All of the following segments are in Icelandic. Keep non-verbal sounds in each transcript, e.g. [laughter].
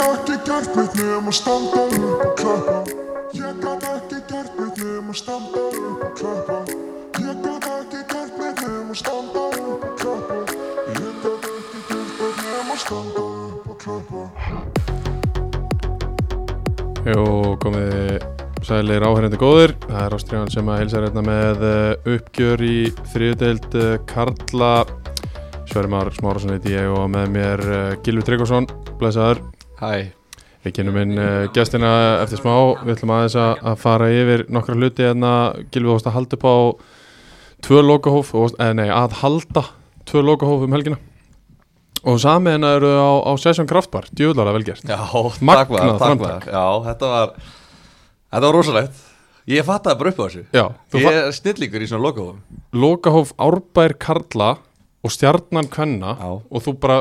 gert neitt nema standa upp og klappa Ég gat ekki gert neitt nema standa upp og klappa Ég gat ekki gert neitt nema standa upp og klappa Ég gat ekki gert neitt nema standa upp og klappa Jó, komið sælir áherrendi góðir. Það er Ástriðan sem að heilsa hérna með eh, uppgjör í þriðdeild eh, Karla. Svermar Smárasson heiti ég og með mér eh, Gylfi Tryggvason, blæsaður. Hæ, Við kynum inn eh, gestina eftir smá. Við ætlum aðeins að að fara yfir nokkra hluti en að Gylfi hóst að halda upp á tvö lokahóf, og- eh, nei, að halda tvö lokahóf um helgina. Og sami hennar eru á, á Session Kraftbar, djúðlara velgert. já, Magnað takk maður, takk framtak. maður Já, þetta var, þetta var rosalegt Ég fattaði bara upp á þessu Já, þú Ég er snillíkur í svona lokaðum lokahóf Árbær Karla og Stjarnan Kvenna Já. og þú bara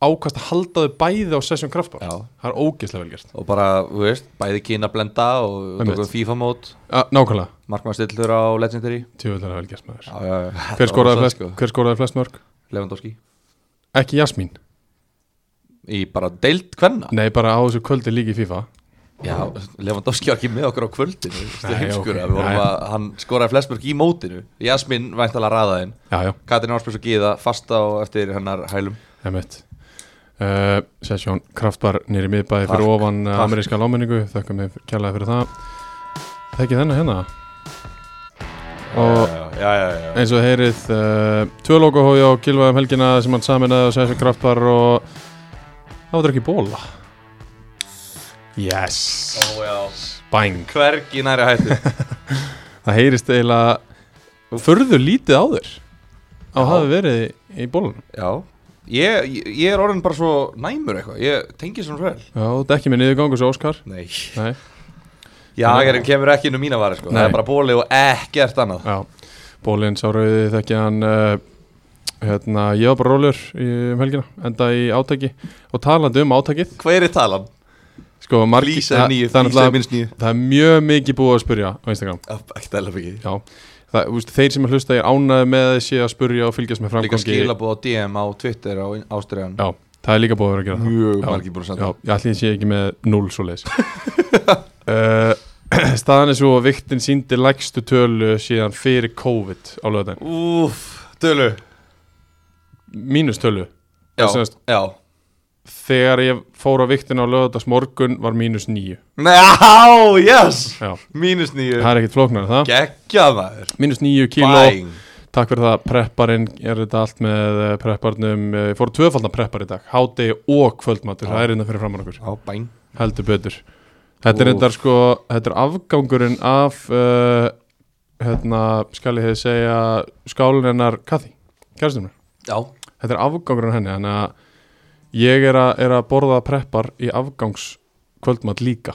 ákast að halda þau bæði á Sessjón Kraftbar Já. það er ógeðslega vel gert Og bara, þú veist, bæði kína blenda og Einmitt. tókum FIFA-mót A, nákvæmlega, Markmannstillur á Legendary tjóðlega vel gert maður Já, já, já Þetta var sko. hver skoraði, rosalegt, flest, hver skoraði flest mörg? Lewandowski ekki Jasmín, Í bara deild hvenna nei bara á þessu kvöldi líki í FIFA Já, Lewandowski var ekki með okkur á kvöldinu Þetta er Nei, heimskur ok, að við vorum já, já. að Hann skoraði flest mörg í mótinu Jasmin væntalega raðaðinn já já, Katrin Ársbjörns og Gíða fasta á eftir hennar hælum emitt uh, Sessjón Kraftbar nýri miðbæði fyrir Takk, ofan takk. takk. ameríska lámenningu þökkum við kjærlega fyrir það þekki þennan hérna og Já, já, já, já, já. eins og heyrið uh, tvö logohói á Gilvaðum helgina sem hann saminaði og segja sér kraftbar og það var ekki bóla yes Ó, já. bang hvergi næri hættu það heyrist eiginlega förðu lítið á þér á Já. hafi verið í bólunum Já ég, ég- ég er orðin bara svo næmur eitthvað Ég tengi svona svo vel já, þetta er ekki með niðurgangu svo Óskar Nei nei, Jagerinn kemur ekki inn um mína varir sko Nei. Það er bara bóli og ekkert annað já, bólinn sá rauði þekki hann uh, hérna, ég var bara rólur í um helgina enda í átaki og talandi um átakið Hver er talan? sko, margi, Lýsa er nýju, það er Lýsa er náttúrulega- minnst nýju það er mjög mikið búið að spurja á Instagram Ekki dæla fyrir Já, það, úst, þeir sem að hlusta er ánæði með þessi að spurja og fylgjast með Líka framgangi skilabóð á DM á Twitter á Ástriðan Já, það er líka búið að vera að gera það Mjög Já. margir búin að Já, senda ég ætli að sé ekki með 0 svo leiðis [laughs] Staðan er svo að viktin síndi lægstu tölu síðan fyrir COVID á löðan Úf, dölu Mínus tölu Já, Það sést. já Þegar ég fór á viktin á löðast morgun var mínus 9 Nei, á, yes Já, Mínus nýju það er ekkert flóknar það Gekka maður Mínus 9 kíló Bæn Takk fyrir það, prepparinn er þetta allt með eh, prepparnum, Eh, ég fór tvöfaldan preppar í dag, hádegi og kvöldmatur, Já. það er innan fyrir framann okkur, Á, bæn heldur betur. Þetta er Úff. reyndar sko, þetta er afgangurinn af, uh, hérna, skal ég hefði segja, skálinn hennar Kathy, kæristum mér. Já, Þetta er afgangurinn henni, þannig að ég er, a, er að borða preppar í afgangskvöldmat líka.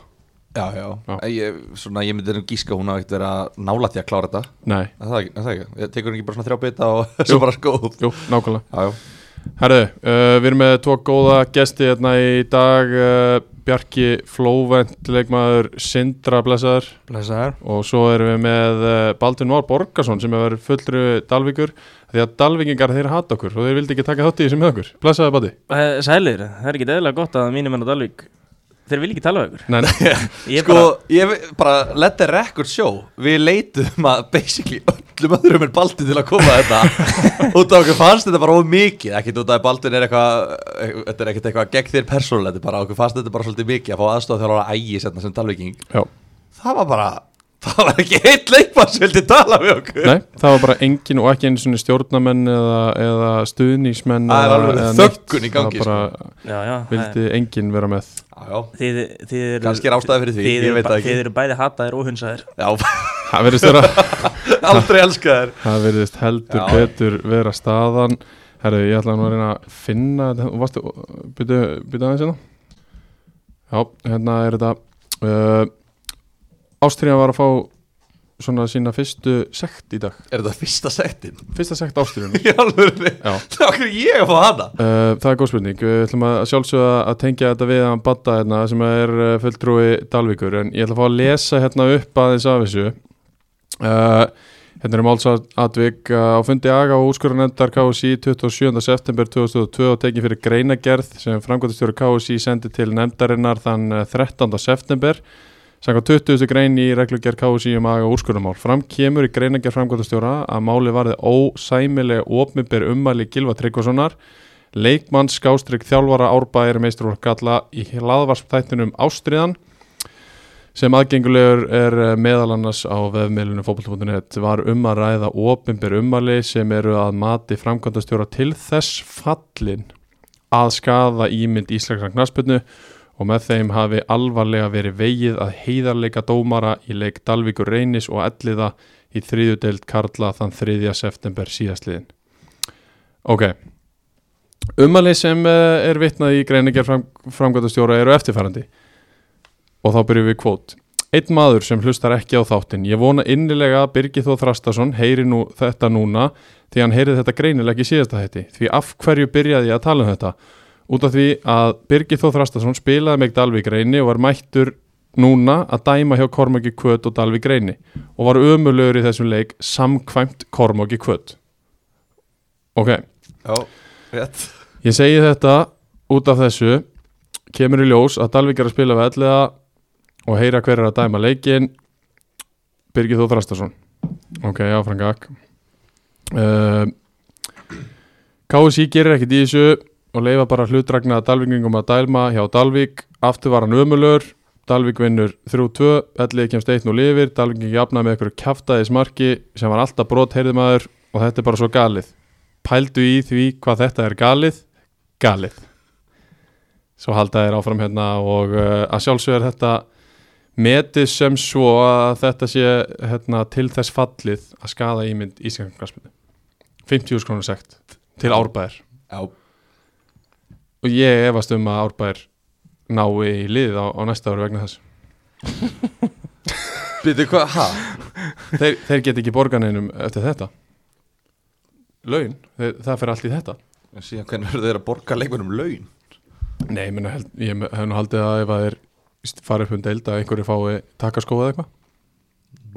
Já, já, Já. Ég, svona, ég myndi um gíska að hún hafa ekkert verið að nála til að klára þetta Nei, Er Það er ekki, er það ekki, ég tekur hún ekki bara svona þrjá bita og [laughs] svo bara skóð jú, nákvæmlega. Já, já, Herðu, uh, við erum með tvo góða gesti hérna í dag uh, Bjarki Flóvent, leikmaður Sindra Blessaður Blessaður og svo erum við með uh, Baldur Nór Borgarsson sem hefur verið fullri Dalvíkur því að Dalvíkingar þeir hata okkur og þeir vildi ekki taka þátt í þessu með okkur Blessaður Bati Eh, Sælir, það er ekki eðlilega gott að mínir menn á Dalvík Þeir vil ekki tala við ykkur Nei, [laughs] nei, Ég Sko, ég ve- bara, let the record show Við leitum að basically öllum öðrum en Baldur til að koma [laughs] að þetta Út af okkur fannst þetta bara of mikið Ekkert út af að Baldur er eitthvað Þetta er ekkert eitthvað gegn þér persónulega Þetta er bara, okkur fannst þetta bara svolítið mikið að fá aðstofa þjálfara ægi setna sem talvíking já, Það var bara, það var ekki heitt leikmann sem vildi tala við okkur nei, það var bara engin og ekki einu svona stjórnamenn eða, eða stuðnísmenn Það er eða- alveg eða þöggun neitt. í gangi, sko. Það bara Já, já vildi engin vera með Já, já, Þið, þið eru Kannski er ástæða fyrir því, þið ég eru veit ba- það ekki. Þið eru bæði hataðir og hunsaðir já [laughs] Það verðist vera Aldrei elska þér Það verðist heldur Já. betur vera staðan Herru, ég ætla nú að reyna að finna þetta. Þú varstu, byrju, byrju aðeins hérna Já, hérna er þetta uh, Ástriðan var að fá svona sína fyrstu sekt í dag Er þetta fyrsta sektin? [laughs] Fyrsta sekt Ástriðan Í alvörunni Já Það okkur er ég að fá hana Uh, það er góð spurning, við ætlum að sjálfsögða að tengja þetta við hann Batta hérna sem er uh, fulltrúi Dalvíkur en ég ætla að fá að lesa hérna upp aðeins af þessu uh, Hérna er málsatvik uh, á fundi aga og úrskurðanendar KSI 27. september 2002 og tekið fyrir greinagerð sem framkvæmtastjóri KSI sendi til nefndarinnar þann eh, 13. september Sanga 20. grein í reglugerð KSI um aga og úrskurðamál. Fram kemur í greinagerð framkvæmtastjóra að máli varði ósæmileg opmiber ummæli Gilva Tryggvasonar leikmann skástrygg þjálfara árbæðir meistur og galla í hlaðvarsptættinum Ástriðan sem aðgengulegur er eh, meðal annars á vefmiðlunum fótboll.net var um að ræða opinber ummali sem eru að mati framkvæmdastjóra til þess fallin að skada ímynd íslenskra knaspinu og með þeim hafi alvarlega verið vegið að heiðarleika dómara í leik Dalvíkur Reynis og Elliða í þriðju deild Karla þann 3. september síðastliðin. Ok, ummali sem eh, er vitnað í greiniger fram, framkvæmdastjóra eru eftirfærandi og þá byrjum við kvót. Einn maður sem hlustar ekki á þáttinn. Ég vona innilega að Birgir Þóð Þrastason heyri nú þetta núna því hann heyri þetta greinilega ekki í síðasta hætti. Því af hverju byrjaði ég að tala um þetta? Út af því að Birgir Þóð Þrastason spilaði með Dalvík reyni og var mættur núna að dæma hjá Kormáki Kvöt og Dalvík reyni og var ömulegur í þessum leik samkvæmt Kormáki Kvöt. Ok, Já, rétt ég segi þetta út af þessu kemur í ljós að Dalvík er að spila við elliða og heyra hver er að dæma leikin Birgir Þóð Þrastarsson ok, áfram gag uh, KSI gerir ekkit í þessu og leifa bara hlutdragna Dalvíkingum að dælma hjá Dalvík aftur var hann ömulur Dalvík vinnur 3-2, ellið kemst 1-0 yfir Dalvíking jafna með einhverju kjaftaðismarki sem var alltaf brot heyrðumaður og þetta er bara svo galið pældu í því hvað þetta er galið galið svo halda þér áfram hérna og uh, að sjálfsögur er þetta metið sem svo að þetta sé hérna, til þess fallið að skada ímynd íslenskarsmyndu 50.000 krónur sekt til árbæðir Já, og ég efast um að árbæðir nái í liðið á, á næsta ári vegna þess býttu hvað, hæ? þeir, þeir get ekki borganinum eftir þetta laun, þeir, það fer allt í þetta En síðan hvernig verður þeir að borga leikmennum laun? nei, ég, meina, held, ég hef nú haldið að ef að þeir fara upp um deild að einhverju fái takaskóða eða eitthvað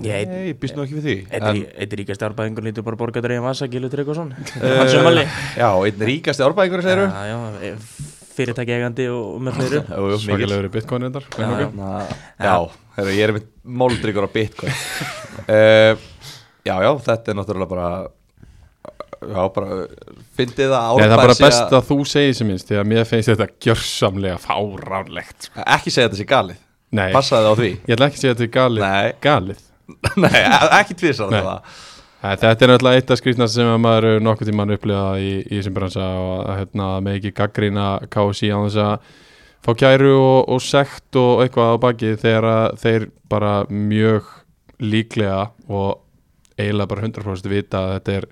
Ég- Nei, býst nú ekki við því En- Eitt ríkast árbæðingur lítur bara borga dreigum vasa, Gilvi Tryggvason Hans umali eh, Já, einn ríkasti árbæðingur segir Já, já, e- fyrirtæki eigandi og og með [laughs] fleiri Svakalega svakalegur í bitcoin endar Já, já. Já, heyrðu, ég er með móldryggur á bitcoin [laughs] uh, Já, já, þetta er náttúrulega bara Já, bara Fyndið að Nei, árbæðir það er bara best að þú segir sem minnst því að mér finnst þetta gjörsamlega fáránlegt sko. Ekki segja þetta sé galið Nei, Passaði [laughs] á því ég ætla ekki að segja þetta er galið, Nei. galið. Nei, ekki tvisar Nei. það Æ, Þetta er náttúrulega eitt af skrýtnast sem að maður hefur nokkuð tímann upplifað í, í þessum bransa og að, hérna, með ekki gaggrýna KSI á þess að fá kæru og, og sekt og eitthvað á baki þegar að þeir bara mjög líklega og eiginlega bara 100% vita að þetta er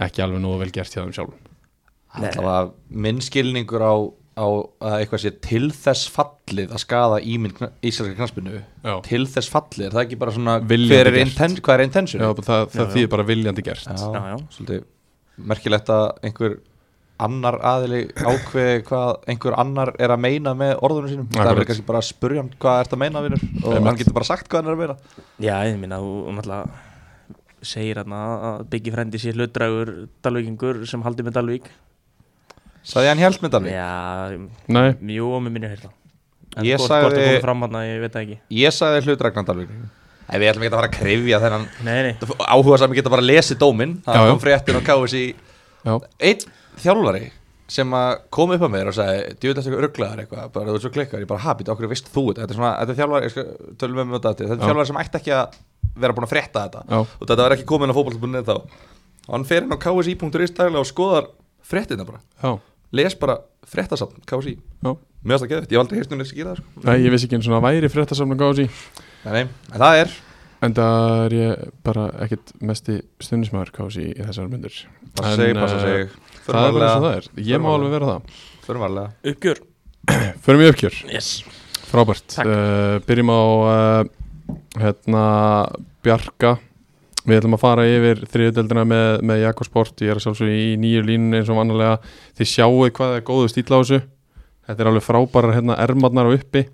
ekki alveg nú vel gert hjá þeim sjálfum Nei. Það var minnskilningur á, á að eitthvað sé til þess fallið að skada ímynd kna- íslenska knaspinu Já. Til þess fallið, er það ekki bara svona Viljandi hver er gert. inten, Hvað er intention? Já, bara það, það Já, já. þýðir bara viljandi gert Já, já. Svolítið merkilegt að einhver annar aðili ákveði hvað einhver annar er að meina með orðunum sínum Akkurat. það verður kannski bara að spurja hann hvað ert að meina vinur og Einmitt. hann getur bara sagt hvað hann er að meina Já, ég minna, þú náttúrulega segir hann að Biggi frendi sé hlutdragur Dalvíkingur sem haldi með Dalvík sagði hann hjælt með Dalvi Já, Nei, mjög og mér minni hérna En Ég hvort, sagði- hvort það komið fram hann ég veit það ekki ég sagði hlut Ragnar Dalvi en við ætlum ekki að fara að krifja þennan Nei, nei, áhuga sem geta bara að lesi dómin Já, það já. kom fréttin og káði sér já, einn þjálfari sem að kom upp að mér og sagði djúðast eitthvað rugglaðar eitthvað, bara þú ert svo klikkar ég bara hapið, okkur veist þú þetta þetta er svona, þetta er þjálfari, ég skal- tölum við um þetta á eftir, Já. þetta er þjálfari sem ætti ekki að vera búin að frétta þetta Já. og þetta var ekki komin á fótballbunni þá og hann fer inn á ksi.is daglega og skoðar fréttina bara, já, les bara fréttasafn KSI, já. mér finnst það geðvægt, ég hef aldrei heist um þess að gera það sko. Nei, ég vissi ekki einu svona væri fréttasamlega á því nei, nei, en það er En það er ég bara ekkit mesti stundismæður kási í þessar myndir passa sig, passa eh, sig, Það er bara eins og það er, ég má Förum alveg vera það förum varlega uppgjör Förum í uppgjör, Yes frábært Takk. uh, Byrjum á uh, hérna Bjarka Við ætlum að fara yfir þriðudeldina með, með Jakob Sport Ég er að sjálfsög í nýju línunni eins og vannlega Þið sjáuð hvað er góðu stíl á þessu Þetta er alveg frábærar hérna ermarnar á uppi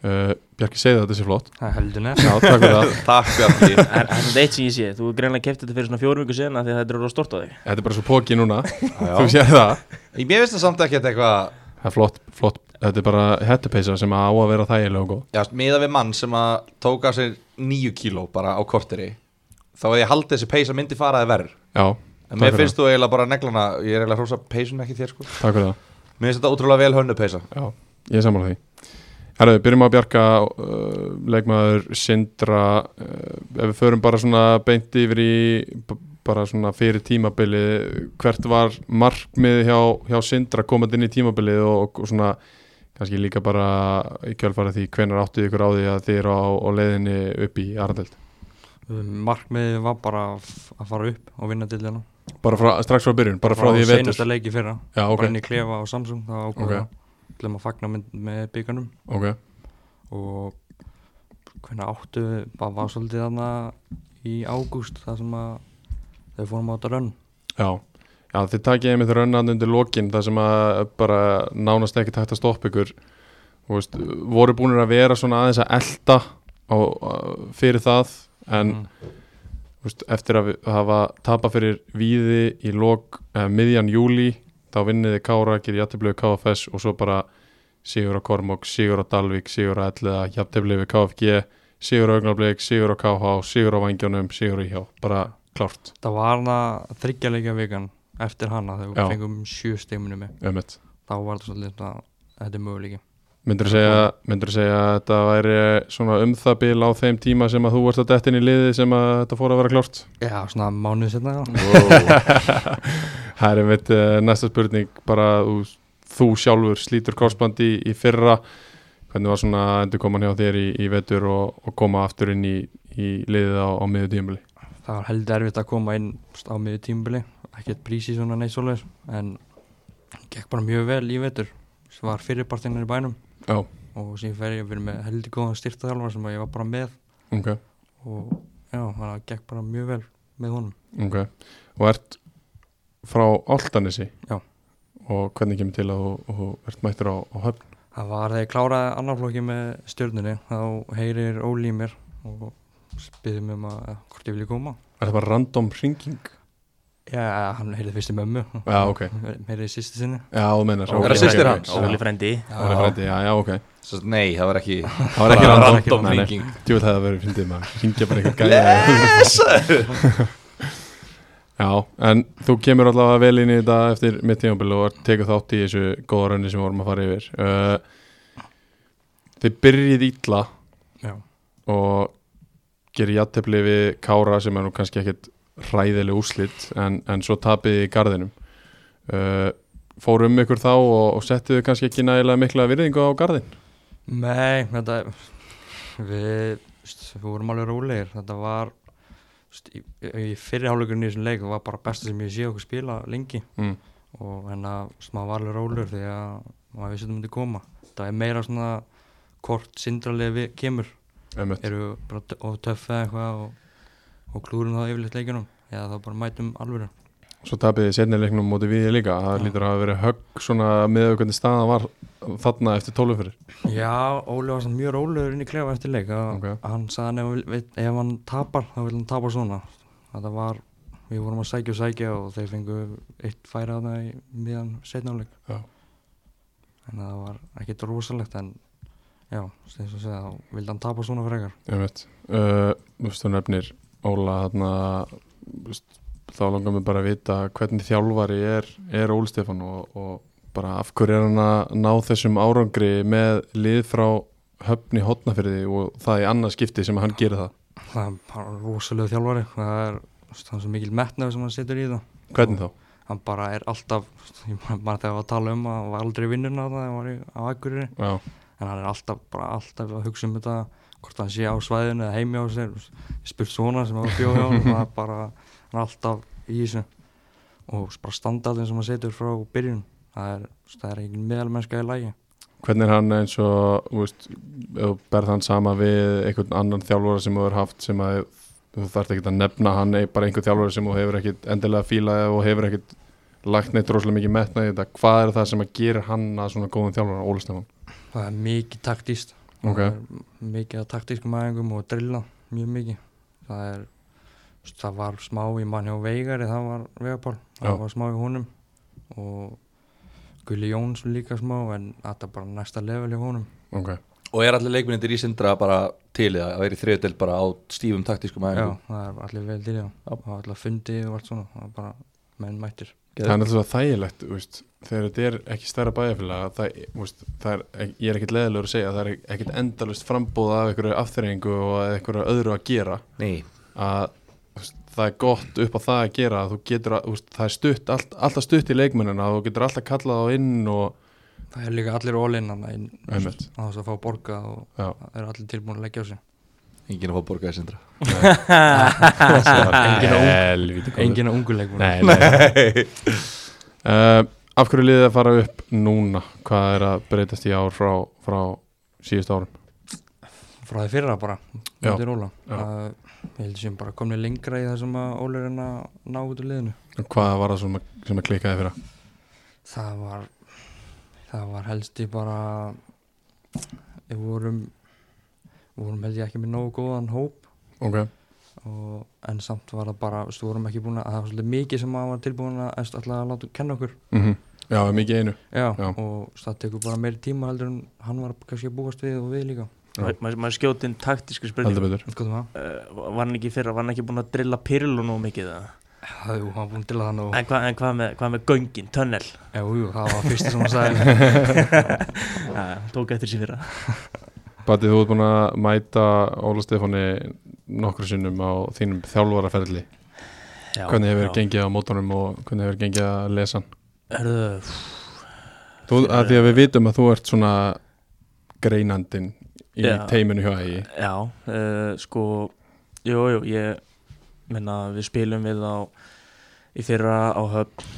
uh, Bjarki segði að þetta sé flott Það er heldur nefn Já, takk fyrir það [laughs] Takk Bjarki Það er svona eitt sem ég sé, þú greinlega kefti þetta fyrir svona fjórum viku sena því að þetta er orðið stort á þig Þetta er bara svo póki núna, Já. þú sér það Ég- Mér finnst það samt ekki eitthvað Það er flott, flott, þetta er bara hettupeysa sem á að vera þægilega og góð Já, miða við mann sem að tók á sér nýju kíló bara á korteri þá hefði ég haldið þessi peysa myndi faraði verð Já, en takk mér fyrir finnst þú eiginlega bara neglana ég er eiginlega hrósa peysun ekki þér sko það, takk fyrir það Mér finnst þetta ótrúlega vel hönnu peysa Já, ég er sammála því Herðu, byrjum á að bjarga uh, leikmaður Sindra uh, ef við förum bara svona beint yfir í b- bara svona fyrir tímabilið hvert var markmið hjá, hjá Sindra komandi inn í tímabilið og, og svona kannski líka bara í kjölfara því hvenar áttuð ykkur á því að þið eru á, á leiðinni upp í Arndeld Markmiðið var bara að fara upp og vinna til þérna bara frá, strax frá byrjun, bara frá því í vetur Seinasta leiki fyrra Já, Bara ok, inn í klefa á Samsung Það Ok. ákvæða okay. Til að fagna mynd með byggarnum ok og hvernig áttu bara var svolítið þarna í ágúst það sem að þau fórum á þetta rönn Já, já þið takið einmitt rönnan undir lokin þar sem að bara nánast ekki tægt að stoppa ykkur Þú veist, voru búinir að vera svona aðeins að elta á, á, fyrir það en mm. veist, eftir að við- hafa tapa fyrir víði í lok eh, miðjan júli þá vinniði Kára, gerir jættiblegu KFS og svo bara Sigur á Kormok, Sigur á Dalvík, Sigur á Elliða, jættiblegu við KFG, Sigur á Augnablik, Sigur á KH, Sigur á Vangjónum, Sigur í hjá, bara klárt, það var hana þryggjarleika vikan eftir hana þegar Já. við fengum sjö stegminu með ömmett. þá var það svolítið svona þetta er möguleiki Myndur þú segja, myndirðu segja að þetta væri svona um það bil á þeim tíma sem að þú varst að dettin í liði sem að þetta fór að vera klárt? já svona mánuð setna já. [laughs] Það er einmitt eh, næsta spurning, bara þú, þú sjálfur slítur korsbandi í, í fyrra, hvernig var svona endur koman hjá þér í, í vetur og, og koma aftur inn í, í liðið á, á miður tímuli? það var heldur erfitt að koma inn á miður tímbili ekkert prísi svona neitt svoleiðis en gekk bara mjög vel í vetur sem var fyrirpartinn í bænum Já, og síðan fer ég að vera með heldur góðan styrtaþjálfar sem að ég var bara með ok, og já, þannig að það gekk bara mjög vel með honum. ok. Og ert frá Áltanesi? Já. Og hvernig kemur til að þú, þú ert mættur á, á höfn? Það var þegar ég kláraði annar flokki með stjörnunni, þá heyrir Óli í mér og spyrir mér um að hvort ég vilja koma. Er það bara random hringing? Já, hann heyrði fyrst í mömmu, Já, ok. heyrði í sýstu sinni. Já, þú meinar Er það systir hans? Óli frendi Það er frændi, já, já, ok Svo, Nei, það var ekki Það var ekki Bara random, random Nei, nei. hringing. Djú, það hefði verið fyndið maður Ringja bara eitthvað gæja Já, en þú kemur allavega vel inn í þetta eftir mitt tímabil og tekur þátt í þessu góða raunni sem við vorum að fara yfir uh, Þið byrjið ítla Já, og gerir jættefli við Kára sem er nú kannski ekkit ræðileg úrslit en, en svo tapið í garðinum uh, Fóru um ykkur þá og, og settuðu kannski ekki nægilega mikla virðingu á garðin nei, þetta, við, st, við vorum alveg rólegir, þetta var, st, í, í fyrirháleikurinn í þessum leik, það var bara besta sem ég sé okkur spila lengi mm. og hérna smá varlega rólur því að maður vissi að þetta myndi koma það er meira svona hvort sindralið við kemur einmitt. eru bara tö- of töff eða eitthvað og, og klúrum það yfirleitt leikunum eða þá bara mætum alvöru Svo tapið þið setni leiknum móti við líka það Já. lítur að hafa verið högg svona með auðvitað staðan var þarna eftir tólufyrir já, Óli var svona mjög rólegur inn í klefa eftir leik að Ok. hann sagði hann ef, hann vil- ef hann tapar þá vil hann tapa svona þetta var, við vorum að sækja og sækja og þeir fengu eitt færa að það í miðan setnáleik Já. en það var ekkert rosalegt en já, eins og segja, þá vildi hann tapa svona frekar Einmitt. uh, Þú veist þú nefnir Óla þarna þú veist, þá langar mig bara að vita hvernig þjálfari er, er Óli Stefán og, og bara af hverju er hann að ná þessum árangri með lið frá höfni hotnafyrði og það í annað skipti sem hann gerir það það er bara rosalega þjálfari það er þannig svo mikil metnaður sem hann setur í það Hvernig þá? hann bara er alltaf ég man- man þegar var að tala um að hann var aldrei vinnurna það hann var í, á Akureyri Já, en hann er alltaf, bara alltaf að hugsa um þetta hvort hann sé á svæðinu eða heimi á sér ég spurt svona sem hann var bjóð hjá honum, það er bara, hann er alltaf í þessu og bara standardin sem hann setur frá byrjun það er, það er engin meðalmennska í lagi Hvernig er hann eins og þú veist, ef þú berð hann sama við einhvern annan þjálfara sem þú hefur haft sem að þú þarft ekki að nefna hann er bara einhvern þjálfara sem þú hefur ekkit endilega fílaði og hefur ekkit lagt neitt rosalega mikið metna í þetta hvað er það sem að gera hann að svona góðum þjálfara Óli Stefán? það er mikið taktíst Ok. það er mikið að taktískum æfingum og drilla mjög mikið það er það var smá í mann hjá Veigari það var Vegapál, Já. það var smá í honum og Gulli Jóns líka smá en þetta er bara næsta level hjá honum ok Og er allir leikmyndir í sindra bara til í það að vera í þriðutil bara á stífum taktískum já, aðeins það er allir vel til já, það var allir fundi og allt svona það var bara menn mættir Það er alltaf þægilegt, þú veist, þegar þetta er ekki stærra bæjarfélag það, þú veist, það er, ek- ég er ekkit leðilegur að segja það er ekkit endalust frambúð af einhverju afþreyingu og einhverju öðru að gera Nei, að þú veist, það er gott upp á það að gera að þú getur að, þú veist, það er stutt allt, alltaf stutt í leikmennina og þú getur alltaf kallað á inn og það er líka allir all-in þarna inn, á Einmitt. þess að fá borga og já, það er allir tilbúin að leggja á sig enginn að fá borgað í [laughs] sindra helvítið enginn að ungu leikmenn Nei, nei. uh, af hverju liðið að fara upp núna? Hvað er að breytast í ár frá, frá síðust árum? frá því fyrra bara Já. undir Já. Óla Það- ég heldur sem bara komni lengra í það sem að Óla er að ná út úr liðinu Hvað var það sem að, sem að klikkaði fyrir? það var það var helst í bara við vorum við vorum held ég ekki með nógu góðan hóp Ok, og, en samt var það bara, við vorum ekki búin að það var svolítið mikið sem að var tilbúin að alltaf að láta kenna okkur mm já, mikið í einu já, Já. og það tekur bara meiri tíma heldur en hann var kannski að búast við og við líka Já. Ma- maður ma skjóti inn taktísku heldur spurningu uh, betur skoðum það, var hann ekki í fyrra, var hann ekki búin að drilla pyrlu nú mikið það það jú, hann var búin til að það nú en, hva, en hvað með, hvað með göngin, tunnel jú, jú, [laughs] það var fyrst sem hann sagði Já, Ah, tók eftir sér fyrra Bati, þú ert búin að mæta Óla Stefáni nokkru sinnum á þínum þjálfaraferli já, Hvernig hefur já. gengið á mótunum og hvernig hefur gengið að lesa hann? Herðu, Þú, að því að við vitum að þú ert svona greinandin í Já. teiminu hjá ægi Já, uh, sko Jú, jú, ég menna við spilum við á í fyrra á höfn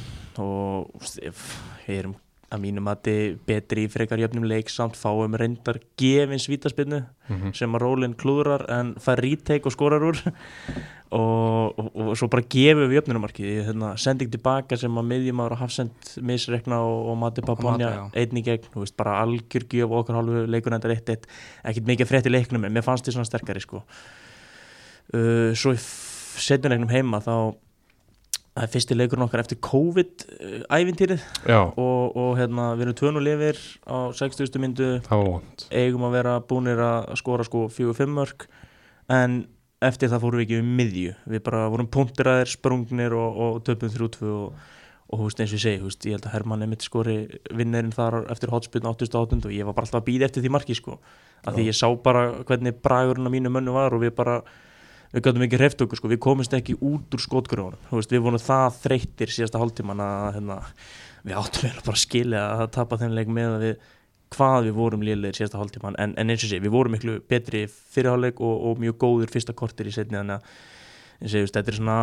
og úst, ef- við erum að mínum að betri í frekar jöfnum leik samt fáum reyndar gefins vítaspinnu sem að rólinn klúðrar en fær retake og skorar úr og, og, og svo bara gefum við jöfnumarkið, hérna, sending tilbaka sem að miðjumar og hafsend misrekna og, og Mati Babonja Mata, einn í gegn, þú veist, bara algjör gjöf og okkar hálfu leikunendar 1-1 ekkert mikið frétt í leiknum en mér fannst því svona sterkari sko uh, svo í setjuleiknum heima þá það er fyrsti leikurinn okkar eftir COVID-ævintýrið Já, og, og hérna, við erum tvönulifir á 60. myndu það var vond eigum að vera búnir að skora sko 4-5 mörg en eftir það fórum við ekki um miðju við bara vorum punktiraðir, sprungnir og, og töpum 3-2 og, og húst eins og ég segi, húst, ég held að Hermann emitt skori vinnerinn þar eftir hotspiln 88 og ég var bara alltaf að býða eftir því marki sko af því ég sá bara hvernig bragurinn á mínu mönnu var og við bara við gætum ekki hreft okkur sko, við komumst ekki út úr skotgröfunum, þú veist, við vorum það þreyttir síðasta hálftíman að hérna, við áttum eiginlega bara að skilja að tapa þeim leik með að við hvað við vorum lélegir síðasta hálftíman en, en eins og sé, við vorum miklu betri fyrirháleik og, og mjög góður fyrsta kortir í setni þannig að eins og ég veist, þetta er svona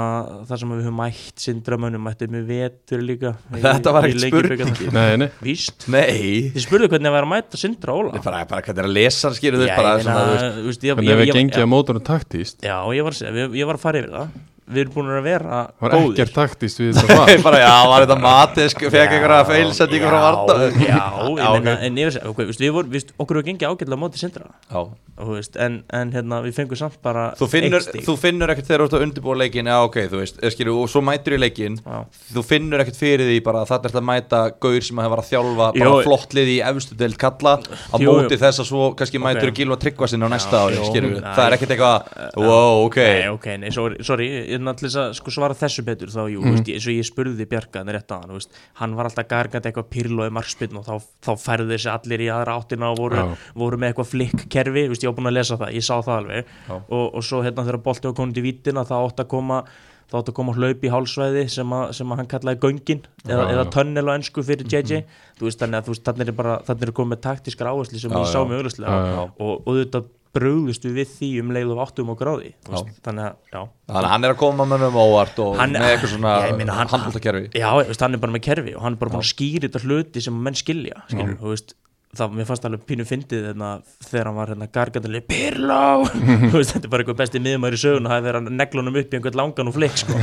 það sem við höfum mætt sindramönnum mættum við vetur líka [laughs] í- Þetta var í ekkert Lengjubikarnum. Nei, nei, Víst, Nei þið spurðu hvernig það var að mæta sindra Óla Ég bara, bara hvernig er að lesa hann skýrðu þau Já, bara ég svona, meina, þú veist, þú veist, ég- hvernig ég- hefur ég- gengið á mótunum taktíst Já, ég var að segja, við- ég var að fara yfir það Við erum búin að vera Það var góðir ekkert taktíst [laughs] við þetta Ég svar bara, já, var þetta matisk fekk einhverja feilsendingu frá Já, Arda Já, [laughs] ég Já, meina, ok. en ég veist, ok, veist, við vorum, veist, okkur hefur gengið ágætlega á móti sindra Já. og, veist, en, en hérna, við fengum samt bara Þú finnur, eitt stig. þú finnur ekkert þegar þú ert að undirbúa leikin Já, ok, þú veist, skýrðu, og svo mætur í leikin Já. Þú finnur ekkert fyrir því bara að þetta er að mæta Gaur sem hefur að þjálfa bara Jó. flott lið í efstu deild kalla Á Jú, móti jú. þess að svo kannski mætur Ok. Gilva tryggva sinna á næsta ári, jú. skýrðu Nei. Það er ekkert eitthvað, wow, ok Nei, ok, nei, sorry, sorry ég er náttúrulega að sko, svara þessu betur þá, jú, veist, Mhm. ég- eins og ég spurði Bjarkan rétt að hann, veist, hann var alltaf gargandi eitthvað pyrlói markspinn og þá, þá færðu þessi allir í aðra áttina og voru, Já. voru með eitthvað flikkkerfi, veist, ég var búin að lesa það, ég sá það alveg og, og svo hérna þegar bolti var komin til vítina þá átt að koma þá átt að koma hlaup í hálsvæði sem, að, sem að hann kallaði göngin eða, Já, eða já. tunnel á ennsku Mhm. fyrir JJ þú veist þannig að þú veist þannig er bara þannig er komið með taktískar áherslu sem Já, ég sá já. mig Já, já. auðvitað og, og þetta brúðust við við því um leið og áttum okkur á því þú veist, þannig að, já Þannig að hann er að koma mönnum óvart og Hann- með eitthvað svona Ég meina, hann- handbóltakerfi já, þú veist, hann er bara með kerfi og hann er bara búin að skýra þetta hluti sem menn skilja skilur, þú veist það, mér fannst alveg pínu fyndið hérna, þegar hann var hérna gargandileg [laughs] Pirlo Þú veist, þetta er bara eitthvað besti miðumæri sögun og það er verið að negla honum upp í einhvern langan og flik sko.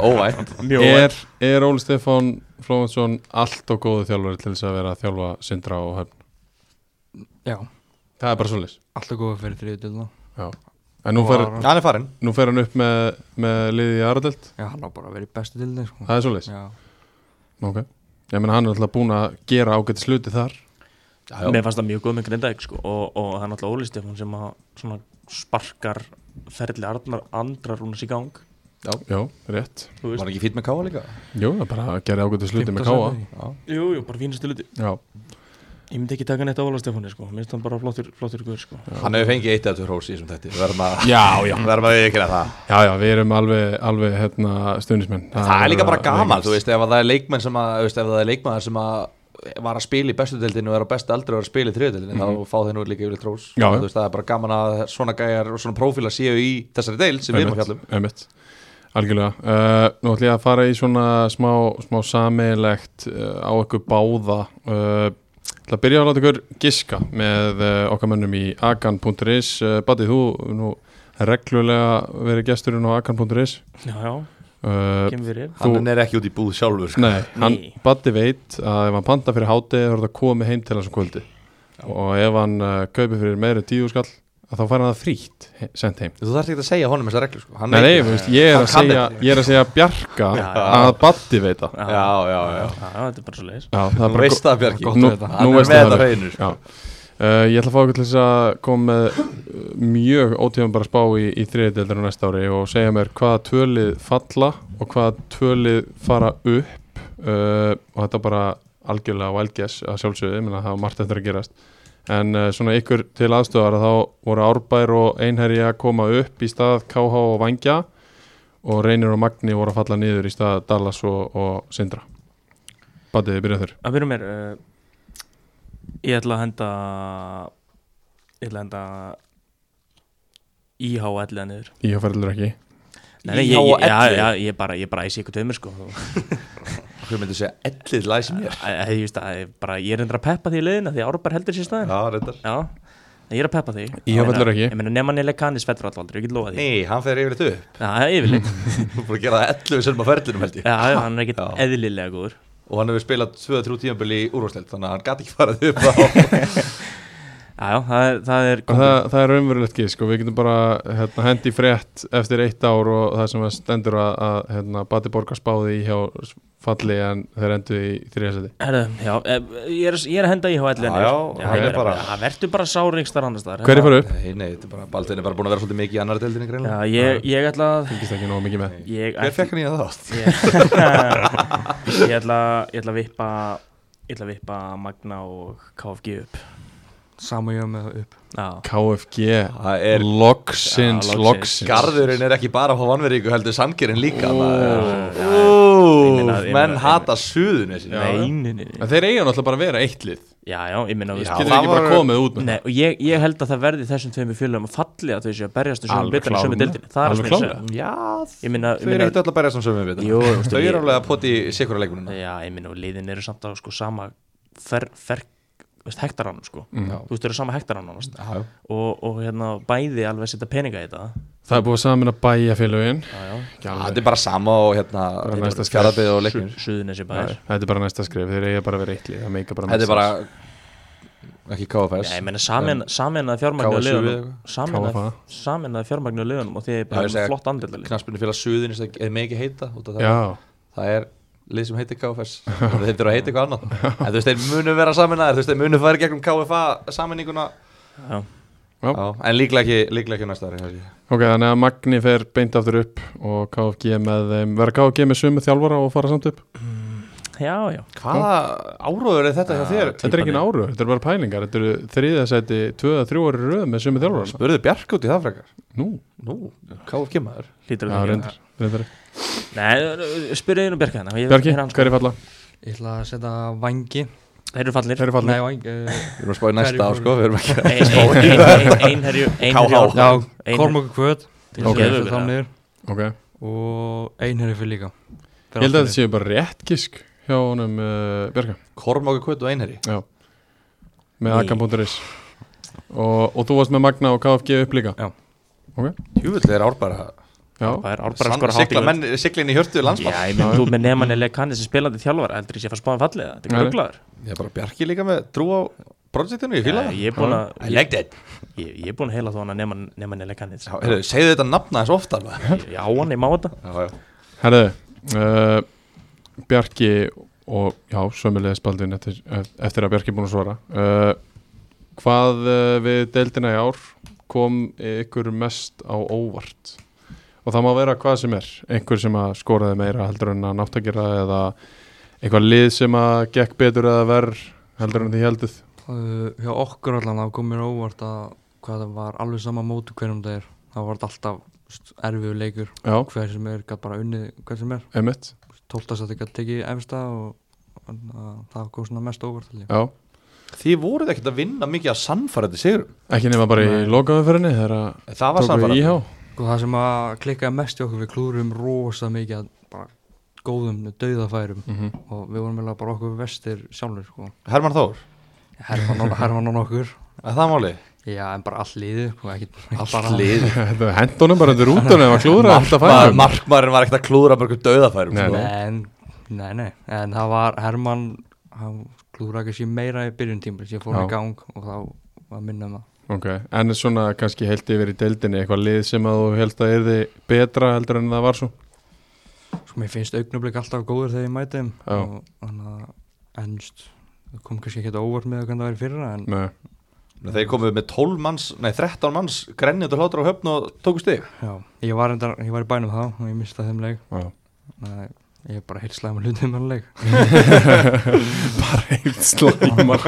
Óvænt mjög óvænt. Er, er Óli Stefán Flóðansson allt og góðu þjálfari til þess að vera að þjálfa sindra og höfn? já, það er bara svolítið alltaf góða fyrir þriðutöldina en nú Og fer, Aron. hann er farin nú fer hann upp með, með liðið í Aradelt Já, hann á bara að vera í bestu dildin sko. það er svolítið Já, ok ég meina hann er alltaf búin að gera ágætt sluti þar já, já. Mér fannst það mjög góð með Grindæk sko, og, og það er náttúrulega Óli Stefán sem að svona sparkar ferli Arnar andrar hún í gang já, rétt þú var veist. hann ekki fýtt með káa líka jú, það er bara að gera ágætt sluti með Fimmta Káa sæti. já. Jú, jú, bara fínastu luti já, Ég myndi ekki taka neitt á Óla Stefáni sko, minnst hann bara flottur, flottur guður sko hann hefur fengið eitt eða tvö hrós í þessum þetta verðum að já, já, verðum að viðkynna það já, já við erum alveg, alveg hérna, stuðnismenn það er líka bara gaman, leikmenn. þú veist, ef að það er leikmenn sem að, þú veist, ef það er leikmenn sem að var að spila í bestu deildinu og er á besta aldrei að vera að spila í þriðudeldinu, þá fá þeir nú líka yfirleitt trós, Mhm. Já, já. þú veist, það er bara gaman að svona gæjar og svona prófílar séu í þessari deild sem við erum að fjallum Einmitt. Algjörlega, uh, nú ætlum ég að fara í svona smá, smá sameilegt uh, á ykkur báða uh, ætla að byrja að láta ykkur giska með uh, okkar mönnum í akan.is uh, Bati, þú hefur nú reglulega verið gesturinn á akan.is Já, já, uh, kemur fyrir Þú- hann er ekki út í búð sjálfur sko. Nei, hann, Nei. Batti veit að ef hann panta fyrir hátið þá er þetta komið heim til hans um kvöldi og ef hann uh, kaupir fyrir meira en tíu skall að þá fær hann það frítt he- sent heim þú þarf ekki að segja honum þessar reglur sko. Hann Nei, veit nei, það. þú veist, ég er Hann að kann segja, þetta. ég er að segja Bjarka Já, já. að Batti veit það Já, já, já, já, já, þetta er bara svo leiðis Já, það þú veist það Bjarki Gott að Nú, vita. nú hann er veist með það þetta á alveg. hreinu sko. Já Uh, ég ætla að fá ykkur til þess að koma með uh, mjög ótíðan bara spá í, í þriðdeildinu næsta ári og segja mér hvaða tvölið falla og hvaða tvölið fara upp uh, og þetta er bara algjörlega wild guess að sjálfsögðu, ég meina það var margt eftir að gerast en uh, svona ykkur til aðstöðar að þá voru Árbær og Einherji að koma upp í stað KH og Vangja og Reynir og Magni voru að falla niður í stað Dallas og, og Sindra Batið, byrjað þurr Það byrjum mér uh, Ég ætla að henda Ég ætla að henda IH ætla niður Ég ferðilur ekki Nei, nei, ég, IH ég, já, ellefu? já, ég bara, ég bara æsi ykkur tömur [laughs] sko Æ, hvað myndir segja, ellið læsi mér æ, Ég veist að ég bara, ég er endur að peppa því í leiðina því Árbar heldur sér staðin já, reyndar Já, en ég er að peppa því IH Ég meina- fellur ekki. Ég meina nema nýlega kannis fellur alltaf aldrei, ég get lofa því nei, hann fer yfir þetta upp Já, það er yfirleitt þú er búin að gera það ellið sem að ferðlinum held ég Já, já, hann er ekkit Já. eðlilega góður og hann hefur spilað 2-3 tímanbíl í úrvarsleild þannig að hann gæti ekki farið upp á Já, já, það er, það er En Það, það er raunverulegt gísk og við getum bara hérna, hendi frétt eftir eitt ár og það sem að stendur að, að hérna, Bati Borgar spáði í hjá falli en þeir endu í þriðasæti. Herðu, já, eh, ég er, ég er að henda IH ætla Já, niður já, hann er ég bara- Það verður bara sár yngstar annars þar Hverju fara upp? [laughs] nei, nei, þetta er bara, Baldin er bara búin að vera svolítið mikið í annar deildinni greinlega Já, ég, ég ætla að Fylgist ekki nóg mikið með. Ég hver fekk hann í það ást? ég, ég [laughs] ætla Ég ætla að vippa Ég ætla að vippa Magna og KFG upp Sama ég með það upp Já, KFG, það er loksins, Já, loksins. loksins. Garðurinn er ekki bara á vanveríku heldur samkerinn líka já, já. Ég Úúúú, meina- ég meina- menn hata suðun þessi nei, nei, nei, nei En þeir eiga náttúrulega bara að vera eitt lið. Já, já, ég minna Já, Getur það ekki bara var- komið út með Nei, og ég, ég held að það verði þessum tveimur fjölum að falli að þau séu að berjast um sömu Alveg bitarni sömu klárlega. deildinni Það er Alveg það sem ég klárlega. segja já, Ég minna, þau eru ekkert öll að um berja sem sömum við Jú, þú veist, þau ég- eru alveg að poti í sikura leikunina Já, ég minna, liðin eru samt á sko sama fer, fer, veist, hektaranum sko Þú veist, þau eru sama hektaranum Mhm. veist. og, og hérna, bæði alveg setja peninga í þetta Það er búið að samin að bæja félagin. Já, já, það er bara sama og hérna Bara næsta skref. fjarafið og leikunir Suðunessi bæðir Þetta er bara næsta skrif, þeir eiga bara að vera eitt lið. Það meika bara þetta er bara mest sens. ekki KFS Já, ég meina samin- sameinaði fjármagnu og KSU liðunum eða sameinaði KFA. sameinaði fjármagnu og liðunum og því er Já, bara ég segi- flott andildalið knaspinu félag suðin eða mikið heita út af það Já, það er lið sem heitir KFS og þeir þurfa að heita eitthvað annað en þú veist, þeir munu vera saminnaðir, þú veist, þeir munu fara í gegnum KFA saminninguna Já, Já. Já, en líklega ekki, líklega ekki næsta ári held ég. ok, þannig að Magni fer beint aftur upp og KFG með, þeim. verða KFG með sömu þjálfara og fara samt upp? já, já hvaða áróður er þetta hjá þér? Þetta er ekki áru, þetta er bara pælingar Þetta eru þriðasæti, tvöða, þrjúari röð með sömu þjálfur Spurðu Bjark út í það frekar Nú, Nú, KFG maður Lítur já, þetta ekki reyndar, reyndar. Nei, spyrðu einu Bjarka hérna ég- Bjarki, hérna hann, sko. hverju falla? Ég ætla að setja vangi Þeir eru fallir Hverju falla? Nei, vangi uh, Við erum að spáði næsta Hverju ár sko, við erum ekki Ein- ein- ein- ein- [laughs] Einherju KH. Einherju Já, Einherji- Kormok og Kvöt Til Ok. að setja þá niður Ok, ég Og einherri fyrir líka Fyrir held að allt þetta séu bara rétt gisk hjá honum uh, Bjarka Kormáki Kvöt og Einherri Já, með Nei. Akam.is og, og þú varst með Magna og KFG upp líka Já. Ok, Júvill er ár bara já, Það er árbæra Sann- skora hátt í sigla lög. menn- Siglin í hjörtu landsmann Já, ég menn þú með nefnannilega kannið sem spilandi þjálfara heldur ég sé að fara spáðan um fallið Þetta er Nei. glögglaður Ég er bara Bjarki líka með trú á projektinu, ég fíla Nei, það Ég er búin að I like that Ég, ég er búin að heila þó hana nema, nema Nelly Kannins Já, heyrðu, Segðu þetta nafna þess ofta alveg Já, hann, ég má þetta Já, já. Herðu, uh, Bjarki og já, sömulegis Baldvin eftir, eftir að Bjarki er búin að svara uh, Hvað uh, við deildina í ár kom ykkur mest á óvart og það má vera hvað sem er einhver sem að skoraði meira heldur en að nátt að gera eða eitthvað lið sem að gekk betur eða verð heldur en því helduð Uh, hjá okkur allan það kom mér á óvart að hvað það var alveg sama mótu hverjum það er það var alltaf erfiðu leikur Já, hver sem er gætt bara unnið hver sem er einmitt 12. sætti gætt tekið efsta og og það kom svona mest á óvart held ég. Já, Þið voruð ekkert að vinna mikið að sannfærandi sigur ekki nema bara í lokaðumferðinni þegar að Það var tóku sannfærandi íhá [laughs] og það sem að klikkaði mest í okkur við klúrum rosa mikið að bara góðum dauðafærum mm Mhm. og við vorum eiginlega bara okkur vestir sjálfur sko. Herman Þór, herfan [laughs] á- herfan á okkur að það máli já en bara all liði sko, ekki, ekki Allt bara- lið Hendunum bara undir rútunum að klúra alltaf Maður- færum Markmaðurinn var ekkert að klúðra mörgum döðafærum Nei, sko. nei. Nei, en- nei, nei, en það var Herman, hann klúður ekki sér meira í byrjun tíma, sér fór Já. hann í gang og þá var minna um það. Ok, en svona kannski heilt yfir í deildinni eitthvað lið sem að þú held að erði betra heldur en það var svo Sko mér finnst augnablik alltaf góður þegar ég mæti þeim Já. og þannig að ennst, það kom kannski ekkert á óvart með hvernig það væri fyrir það, en Nei, Nei, Þeir komu með 12 manns, nei 13 manns grennið og hlátur á höfn og tóku stig [laughs] já, ég var, endar, ég var í bænum þá og ég mistaði þeim leik, já þannig að ég er bara heilt slæm að hlutum hann leik. Bara heilt slæmar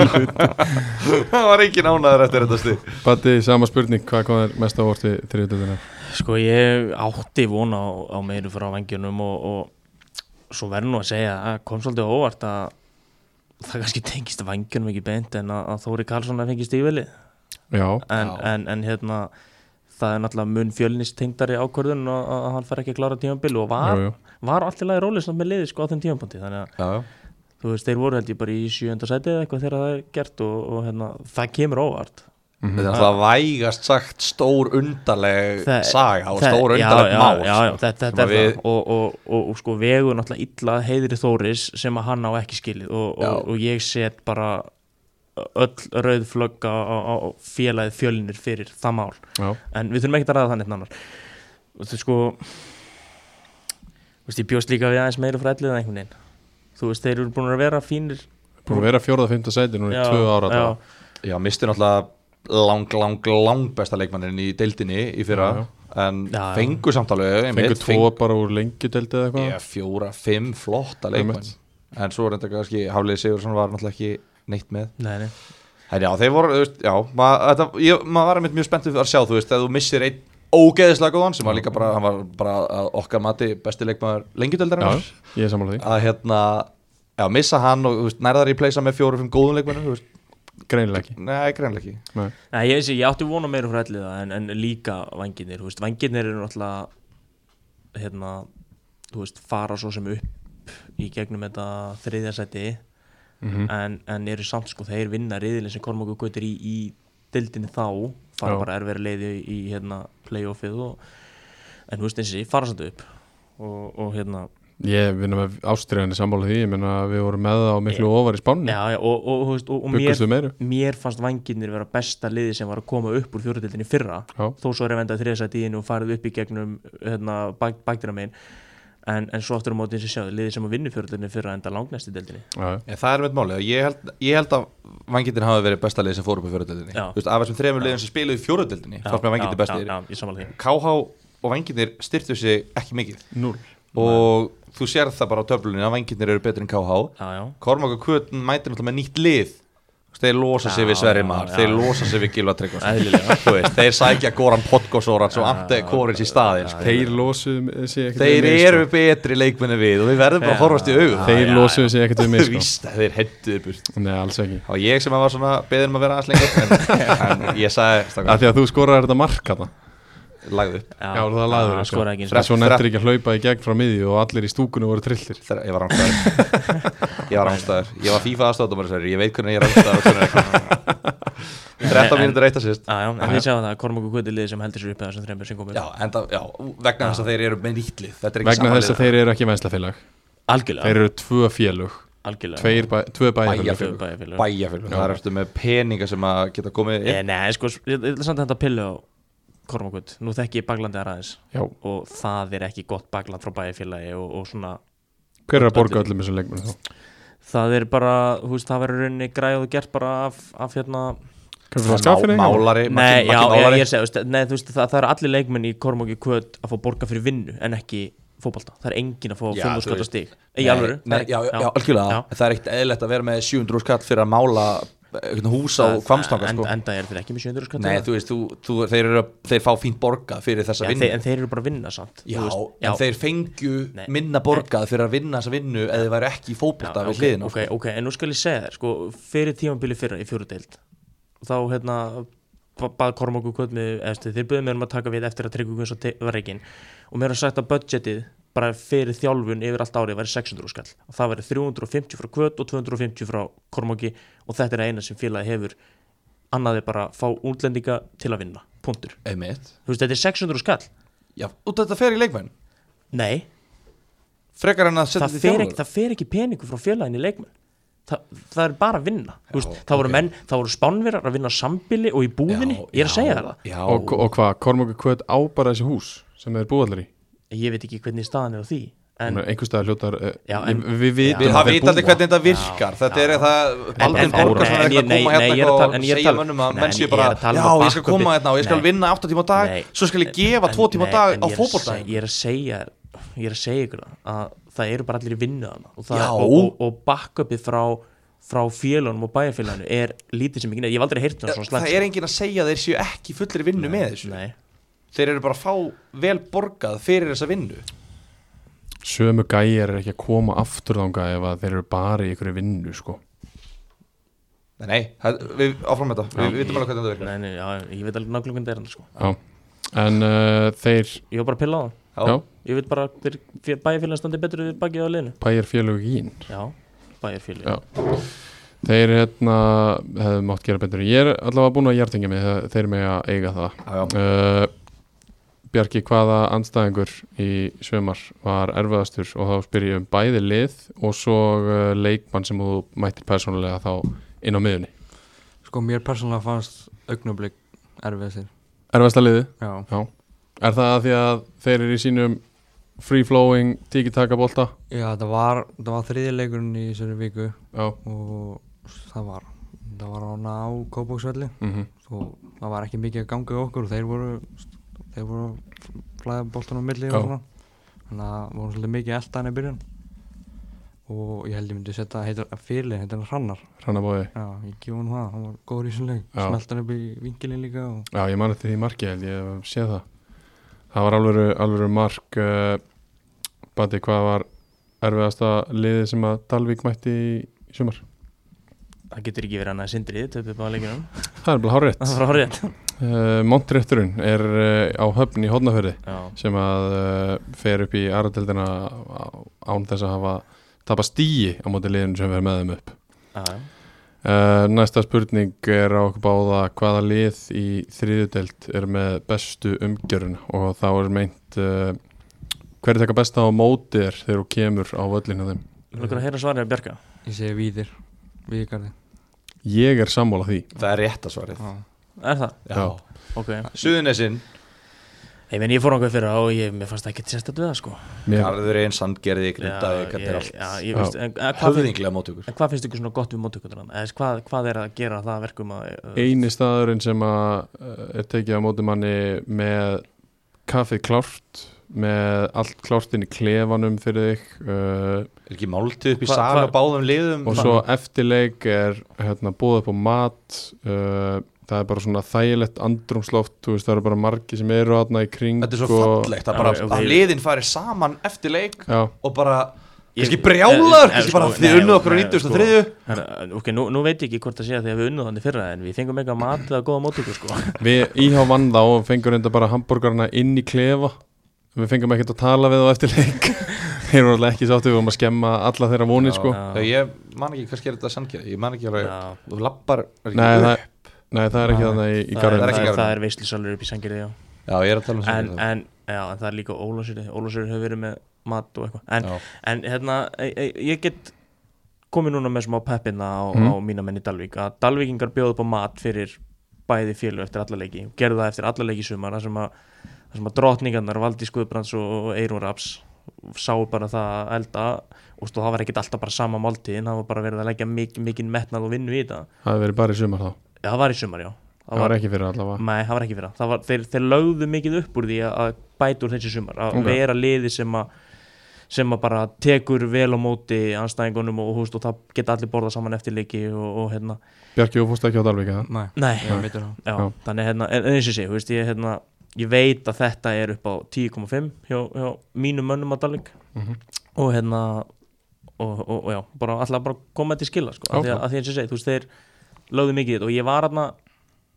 [laughs] Það var engin ánæður eftir þetta stig Batti, sama spurning, hvað kom þér mest á orti þriðutöldina? Sko ég átti vona á, á meiru frá vengjunum og, og svo verður nú að segja að kom svolítið á óvart að það kannski tengist vengjunum ekki beint en að, að Þóri Karlsson að fengi stífili Já, en, Já. en, en hérna það er náttúrulega mun fjölnist tengdari ákvörðun og að hann fær ekki að klára tímambil og var, jú, jú var allt í lagi rólið samt með liði sko á þeim tímambundi þannig að Já, já þú veist þeir voru held ég bara í sjönda sæti eða eitthvað þegar það er gert og, og hérna, það kemur á óvart Mhm. Mhm. Þetta er alltaf vægast sagt stór undarleg Það- saga og það- stór já, undarleg já, mál sko, já, já, þetta, sem þetta er að við- það og, og, og, og sko vegur náttúrulega illa að heiðri Þóris sem að hann á ekki skilið og, og, Já. og ég set bara öll rauð flögg á, á, á félagið fjölinir fyrir það mál Já, en við þurfum ekki að ræða þannig annar þú sko þú veist ég bjóst líka við aðeins meira frá ellið en einhvern veginn þú veist þeir eru búin að vera fínir búin að vera fjórða, fymta sæti núna í Já, tvö ára já, þetta. já. já misti náttúrulega lang, lang, lang besta leikmannin í deildinni í fyrra Já, En Já, já. fengu samtalið Fengur tvo bara úr lengjudeldi eða eitthvað Já, fjóra, fimm flotta leikmann Einmitt. En svo reynda kannski Hafliði Sigursson var náttúrulega ekki neitt með Nei, nei. En já, þeir voru, þú veist, já Maður þetta- ég- maður var einmitt mjög spenntið fyrir að sjá, þú veist Þegar þú missir einn ógeðislega góðan sem var líka bara, hann var bara að okkar mati besti leikmaður lengjudeldarinnar Já, ég er sammála því, að hérna já, missa hann og þú veist, nærðar í pleysa með fjóru fimm góðum leikmennum, þú veist, greinilega ekki nei, greinlega ekki Nei. Nei, ég, ég, ég átti vona meira frá ellið en, en líka vanginir, þú veist, vanginir eru náttúrulega hérna, þú veist, fara svo sem upp í gegnum þetta þriðjasæti Mhm. en, en eru samt sko, þeir vinna riðilin sem Kormáku gautir í, í dildinni þá, fara Já. bara erfæri leiði í, í hérna, playoffið og, en þú veist, eins og ég fara samt upp og, og hérna, Ég vinna með ástriðinni sammála því, ég menna við vorum með það á miklu ofar í spánni já, já, og, og, þú veist, og, og mér, Byggust við meiru mér fannst vanginir vera besta liði sem var að koma upp úr fjóruðildinni fyrra Já, þó svo er að venda þriðasæti í hennu og farið upp í gegnum hérna, bak, bakdýra megin en, en svo aftur á móti eins og sjáðu liðið sem að vinni fjörutinni fyrir að enda langnæst í deildinni já, já. en það er mitt máli, ég held, ég held að vangitin hafi verið besta lið sem fór upp í fjóruðildinni Já. þú veist, af þessum þremur liðum sem spiluðu í fjóruðildinni fannst mér vangitin bestir, Já, já, ég samanlega því KH og vangitir styrtu sig ekki mikið Núl og þú sér það bara á töflunni að vangitir eru betri en KH Já, já, Kormáka Kvötn mætir náttúrulega með nýtt lið Þú veist, þeir losa sig Já, við Sverri já, Mar, já. þeir losa sig við Gilva Tryggvason Eðlilega. Þú veist, þeir sækja Goran Podgosórats og Ante Korins í staðin sko. Þeir losuðum sig ekkert Þeir við mig, eru sko. betri leikmenni en við og við verðum bara að horfast í augun Þeir Já, já, losuðu sig ekkert við mig sko. Víst, að þeir hendur burt Nei, alls ekki Það var ég sem var svona beðin um að vera aðeins lengur [laughs] en, en ég sagði, Af stakar, því að þú skorar þetta mark hana lagði upp já, Já, það laður sko. Það sko. skoraði ekki eins Þrettán. og Svo nefndir ekki að hlaupa í gegn frá miðju og allir í stúkunni voru trillir Þegar ég var ránstæður Ég var ránstæður, ég var FIFA aðstofnumar Sverri, ég veit hvernig ég er ránstæður [laughs] 13 mínútur eitt að sýst Já, já, en við sjáum það að Kormáku Kvöti liðið sem heldur sér upp eða þessum þreymur sem komið Já, enda, já, vegna þess að þeir eru með nýtt lið Þetta er ekki Vegna sama þess að lið. þeir eru ekki mennslafélag Algjörlega Þeir eru tvö félug algjörlega Tveir bæ, tvö bæjarfélög Bæjarfélög. Tvö bæjarfélög. bæjarfélög Það er eftir með peninga sem að geta komið Eh, Nei, sko, s- ég ég ætla samt að þetta pillu á Kormakut, nú þekki ég baglandi aðraðins Já. og það er ekki gott bagland frá bæjarfélagi og, og svona Hver er að borga öllum þessum leikmenn þá? það er bara, þú veist, það verður rauninni græð og gert bara af, af hérna Kanski frá skaffinni? Málari Nei, Maggi- Maggi já, ég, málari. ég segi, þú veist, nei, þú veist, það, það er allir leikmenn í Kormóki kvöt að fá borga fyrir vinnu en ekki fótbalta, það er engin að fá Já, þú fjóðskvöta veist. stig Nei, í alvöru það nei, er ekki- já, já, algjörlega Já. Það er ekkert eðlilegt að vera með 700 skall fyrir að mála eitthvað, hús á Það- kvamstanga en, sko. enda er þeir ekki með 700 skatt Nei, þú veist, þú, þú, þeir, eru, þeir fá fínt borgað fyrir þessa en, vinnu þeir, en þeir eru bara að vinna samt þú Já, veist, en þeir fengju Nei. minna borgað fyrir að vinna þessa vinnu eða þeir væri ekki í fótbolta já, við ok, hliðina sko. ok, ok, en nú skal ég segja þér sko, fyrir tímabili fyrra í fjórudeild þá hérna ba- bað Kormáku kvöld með eftir, þeir buðu mér um að taka við eftir að Tryggvi Guðs var reygin og mér er sagt að budgetið bara fyrir þjálfun yfir allt árið væri 600 skall og það væri 350 frá kvöld og 250 frá Kormáki og þetta er eina sem félagi hefur annaði bara fá útlendinga til að vinna, punktur Einmitt þú veist, þetta er 600 skall Já, út þetta fer í leikmenn nei, Frekar en að setja það þetta í fer, ekki, þjálfur það fer ekki peningu frá fjölaðin í leikmenn Þa, það er bara að vinna já, veist, það, voru ok. menn, það voru spánverar að vinna sambili og í búðinni, ég er að segja þér það Já, Og, og hvað, Kormokur Kvöt á bara þessi hús sem þeir búa allir í? ég veit ekki hvernig staðan er á því en, Einhver staðar hljótar uh, Já, en- Við vitum Já, það að veit þeir allir búa hvernig þetta virkar Þetta er það en- Baldin en- Borgarsson er nei, ekki að nei, koma nei, hérna ég er eitthvað að tala- en og ég er að segja tala- mönnum að nei, en menn séu ég er bara að tala Já, um ég skal bakkaupið." koma hérna og ég skal Nei. vinna 8 tíma á dag Nei, Svo skal ég en- gefa en- 2 tíma á nei, dag en á ég er að fótbolta seg- ég er að segja þér- ég er að segja ykkur það, að það eru bara allir í vinnu þarna og, það, Já. og, og, og backupið frá frá félunum og bæjarfélaginu er lítið sem ekki neitt, ég hef aldrei heyrt um svona Það slags er enginn að segja að þeir séu ekki í fullri vinnu með þessu Nei. Þeir eru bara að fá vel borgað fyrir þessa vinnu Sömu gæjar er ekki að koma aftur þanga ef að þeir eru bara í ykkur vinnu sko. Nei, nei, það- við áfram með þetta Við við vitum alveg hvernig þetta virkar Nei, nei, já, ég veit alveg nákvæmlega hvernig það er hann sko. Já. En uh, þeir ég var bara að pilla á það Já. Já, Ég veit bara að bæjarfélagin standi betur við bakið á liðinu bæjarfélög í inn Já, bæjarfélagin Já. Þeir hérna hefðu mátt gera betur Ég er allavega búin að hjartingja mig þegar þeir með að eiga það Já, já. uh, Bjarki, hvaða andstæðingur í sömar var erfiðastur og þá spyr ég um bæði lið og svo uh, leikmann sem þú mættir persónulega þá inn á miðunni Sko mér persónulega fannst augnablik erfið þér Erfiðasta liði? Já, Já Er það að því að þeir eru í sínum free-flowing, tiki-taka bolta? Já þetta var, þetta var þriðileikurinn í þessari viku Já og það var það var ána á kópóksvelli mm og það var ekki mikið að ganga í okkur og þeir voru þeir voru að flæða boltanum á milli Já. og svona þannig að voru svolítið mikið eldan í byrjun og ég held ég myndi setja heitir fyrirlið, heitir hann Hrannar Hrannabói já, ég gef hann það, hann var góður í þessum leik Já. smelt hann upp í vingilin líka og Já, ég man eftir því marki held ég hef séð það Það var alvöru, alvöru mark uh, Bandi, hvað var erfiðasta liðið sem að Dalvík mætti í í sumar? Það getur ekki verið annað sindrið Töpum á leikunum Það er bara hárétt [laughs] Það var horrið uh, Montrétturinn er uh, á höfn í Hodnafjörði Já, sem að uh, fer upp í aðradeldina án þess að hafa tapa stíi á móti liðinu sem fer með þeim upp já, já. Uh, næsta spurning er á okkur báða hvaða lið í þriðudelt er með bestu umgjörun og þá er meint uh, hverju taka besta á móti þér þegar þú kemur á völlinu þeim Ég vil okkur að heyra svarið af Bjarka ég segi víðir viðgarði ég er sammála því Það er rétt að svarið já, Er það? Já. Ok Suðunesinn, Ég meni, ég fór ánkuð fyrir og ég, mér fannst ekki sérstætt við það sko mér, Garðurinn, Sandgerði, Grindavík, ég, þetta er já, allt ég veist en, en, hvað, finnst, höfðinglega mótugur en hvað finnst ykkur svona gott við mótökundurann? Eða þess, hvað, hvað er að gera það að verkum að uh, eini staðurinn sem að uh, er tekið á móti manni með kaffið klárt með allt klárt inn í klefanum fyrir þig uh, Er ekki máltið upp í Hva- sal hva- og báðum liðum og svo eftirleik er hérna búið upp á mat uh, það er bara svona þægilegt andrumsloft, þú veist það eru bara margi sem eru átna í kring Þetta er svo sko- fallegt að, bara, Já, ok. að liðin fari saman eftir leik já, og bara, Ég- kannski brjálaður, eh, kannski sko, bara nei, þið unnuð nei, sko. okkur á nei, 93 Herra, Ok, nú, nú veit ég ekki hvort það sé að því að við unnum þannig fyrra en við fengum eitthvað mat eða góða mótökur sko við íhá vann þá og fengum reynda bara hambúrgarna inn í klefa við fengum ekkert að tala við á eftirleik [laughs] þeir eru alltaf ekki sáttu við um að skemma alla þeirra vonið sko Já, Ég man ekki, kannski er þetta Sandgerði Ég man ekki alveg, Já. þú lappar er ekki nei, upp? það, nei, það er ekki þannig í, í Það er, garðinu ekki það, er, garðurinn. það er veislusalur upp í sangirði, já Já, ég er að tala um en, Sandgerði en, já, en það er líka Ólafsjöri Ólafsjöri hefur verið með mat og eitthvað en, Já. en hérna, e, e, ég get komið núna með smá peppina á, Mm. á mína menni Dalvík að Dalvíkingar bjóðu upp á mat fyrir bæði félög eftir alla leiki og gerðu það eftir alla leiki í sumar þar sem að, þar sem að drottningarnar Valdís Guðbrands og Eirun Raps sáu bara það að elda og stóð, það var ekkert alltaf bara sama máltíðin það var bara verið að leggja mik mikinn metnað og vinnu í þetta Það hefur verið bara í sumar þá Já, það var í sumar, já Það var ekki fyrir allavega Nei, það var ekki fyrir það. það var, þeir, þeir lögðu mikið upp úr því að- að bæta úr þessi sumar að Ok. vera liði sem að sem að bara tekur vel á móti anstæðingunum og, húst, og það geta allir borðað saman eftir leiki og, og hérna Bjarki, þú fórst ekki á Dalvík eða? Nei, Nei, ég var meiddur á. já, Já. þannig hérna, en en eins og sé, þú veist, ég, hérna, ég veit að þetta er upp á 10,5 hjá, hjá mínum mönnum að Dalvik Mhm. og hérna og, og, og já, bara alltaf bara koma til skila sko, af því að, Áfram. að því eins og sé, þú veist, þeir lögðu mikið í þetta og ég var hérna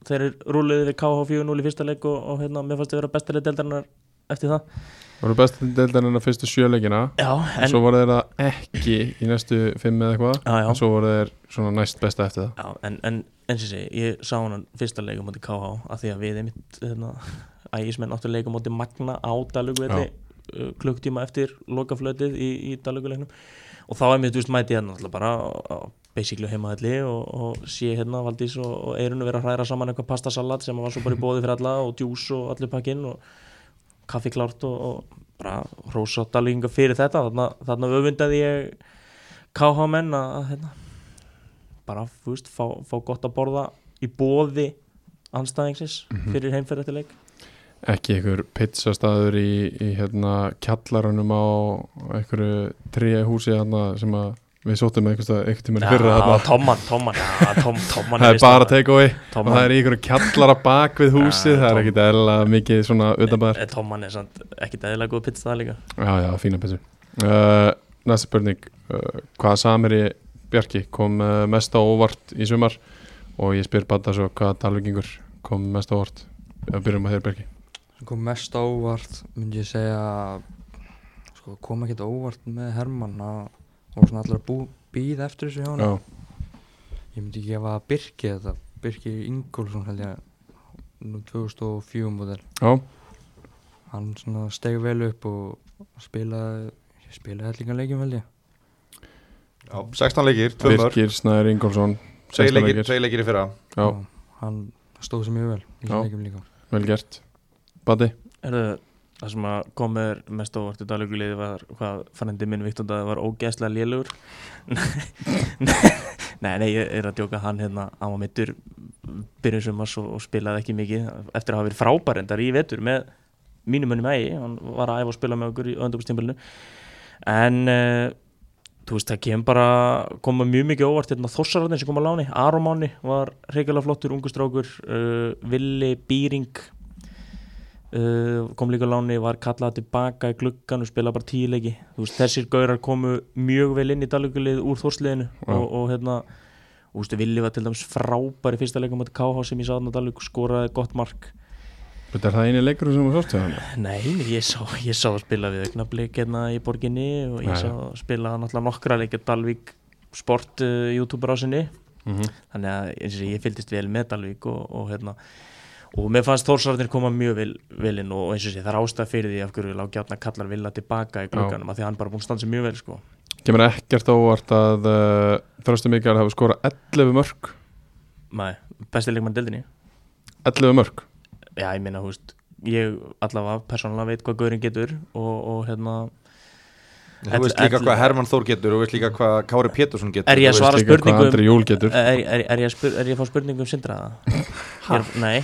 þeir rúluðu við KH 4-0 í fyrsta leik og, og hérna, mér fannst þið vera bestalið deildarinnar eftir það Það voru best deildan en að fyrstu sjöleikina Já, En en, svo voru þeir það ekki í næstu fimm eða eitthvað Já, já. En svo voru þeir svona næst besta eftir það já, en, en eins og sé, ég sá hann fyrsta leik á móti KH af því að við einmitt hérna, ægismenn áttu leik á móti Magna á Dalugvelli Já. uh, klukktíma eftir lokaflötið í, í Daluguleiknum og þá er mér, þú veist, mæti ég hérna náttúrulega bara á- á- basically á heimaðalli og, og sé hérna Valdís og, og Eirunu vera að hræra saman eitthvað pastasalat sem var svo bara í bóði fyrir alla og djús og allir pakkinn og kaffi klárt og, og bara rósa Daluginga fyrir þetta þarna, þarna öfundaði ég KH menn að, að hérna, bara, þú veist, fá, fá gott að borða í bóði anstæðingsins Mhm. fyrir heimferð eftir leik Ekki einhver pizzastaður í, í hérna kjallarunum á einhverju tríu húsi hérna sem að við sóttum einhverstað einhvern tímann í fyrra Já, hérna Tomman, Tomman, já, Tom, Tomman Það er bara veislan. take away og Tomman, það er í einhverju kjallara bak við húsið Já, það er Tom. ekkit eðla mikið svona utanbæðar Eh, Tomman er samt ekkit eðlilega góð pizza það líka Já, já, fína pizza uh, Næsta spurning uh, Hvaða sameri Bjarki kom uh, mest á óvart í sumar og ég spyr bara svo hvaða dalvíkingur kom mest á óvart Ef byrjum að þér Bjarki sem kom mest á óvart myndi ég segja sko, kom ekkert á óvart með Hermann að og svona allir að bú, býða eftir þessu hjá hann Já, ég myndi gefa Birki þetta Birki Ingolson held ég nú 2004 mótel já, hann svona steg vel upp og spilaði spilaði allingar leikjum held ég Já, 16 leikir, 2 mörg Birgir Snæður Ingolfsson 2 16 leikir, leikir. tveir leikir í fyrra Já. Og hann stóð sér mjög vel í Já. leikjum líka Vel gert Bati, Erðu, það sem að komur mest óvart í daluguliði var hvað frændi minn Viktor Daði var ógeðslega [laughs] lélugur Nei, nei, ég er að djóka hann hérna á mittur byrjum sumars og, og spilaði ekki mikið eftir að hafa verið frábærendar í vetur með mínum önum ægi, hann var að æfa að spila með okkur í öndupustimbilinu en uh, þú veist, það kemur bara koma mjög mikið óvart hérna þossararnir sem kom á láni, Arománi var reykjulega flottur, ungu strákur uh, Villi Býring uh, kom líka á láni, var kallað tilbaka í gluggan og spilaði bara tíu leiki Þú veist, þessir gaurar komu mjög vel inn í dalugulið úr þórsliðinu Já. og, og hérna og þú veist, Villi var til dæmis frábær í fyrsta leikum á móti KH sem ég sáðan að dalug skoraði gott mark þetta er það eini leikur sem þú sást hérna. hjá hann Nei, ég sá, ég sá að spila við augnablik hérna í borginni og ég Já, já. sá að spila náttúrulega nokkra leikja Dalvík sport uh, YouTube rásinni Mhm. þannig að eins og sé, ég fylgdist vel með Dalvík og, og hérna og mér fannst Þórsarðin koma mjög vel, vel inn og eins og sé það er ástæð fyrir því af hverju lággjátna kallar vilja tilbaka í glugganum af því að hann bara búin að standa sig mjög vel sko Kemur ekkert á óvart að uh, Þröstur Mikael hafi skorað 11 mörg Nei, besti leikmann deildinni 11 mörg Já, ég minna, húst, ég allavega persónulega veit hvað gaurinn getur og, og hérna, Þú veist Ell- líka ell- hvað Herman Þór getur Þú veist líka hvað Kári Pétursson getur Er ég þú að veist- svara? líka hvað spurningum. Andri Júl getur er, er, er, ég að spyr, er ég að fá spurningu um sindraða? Er, nei,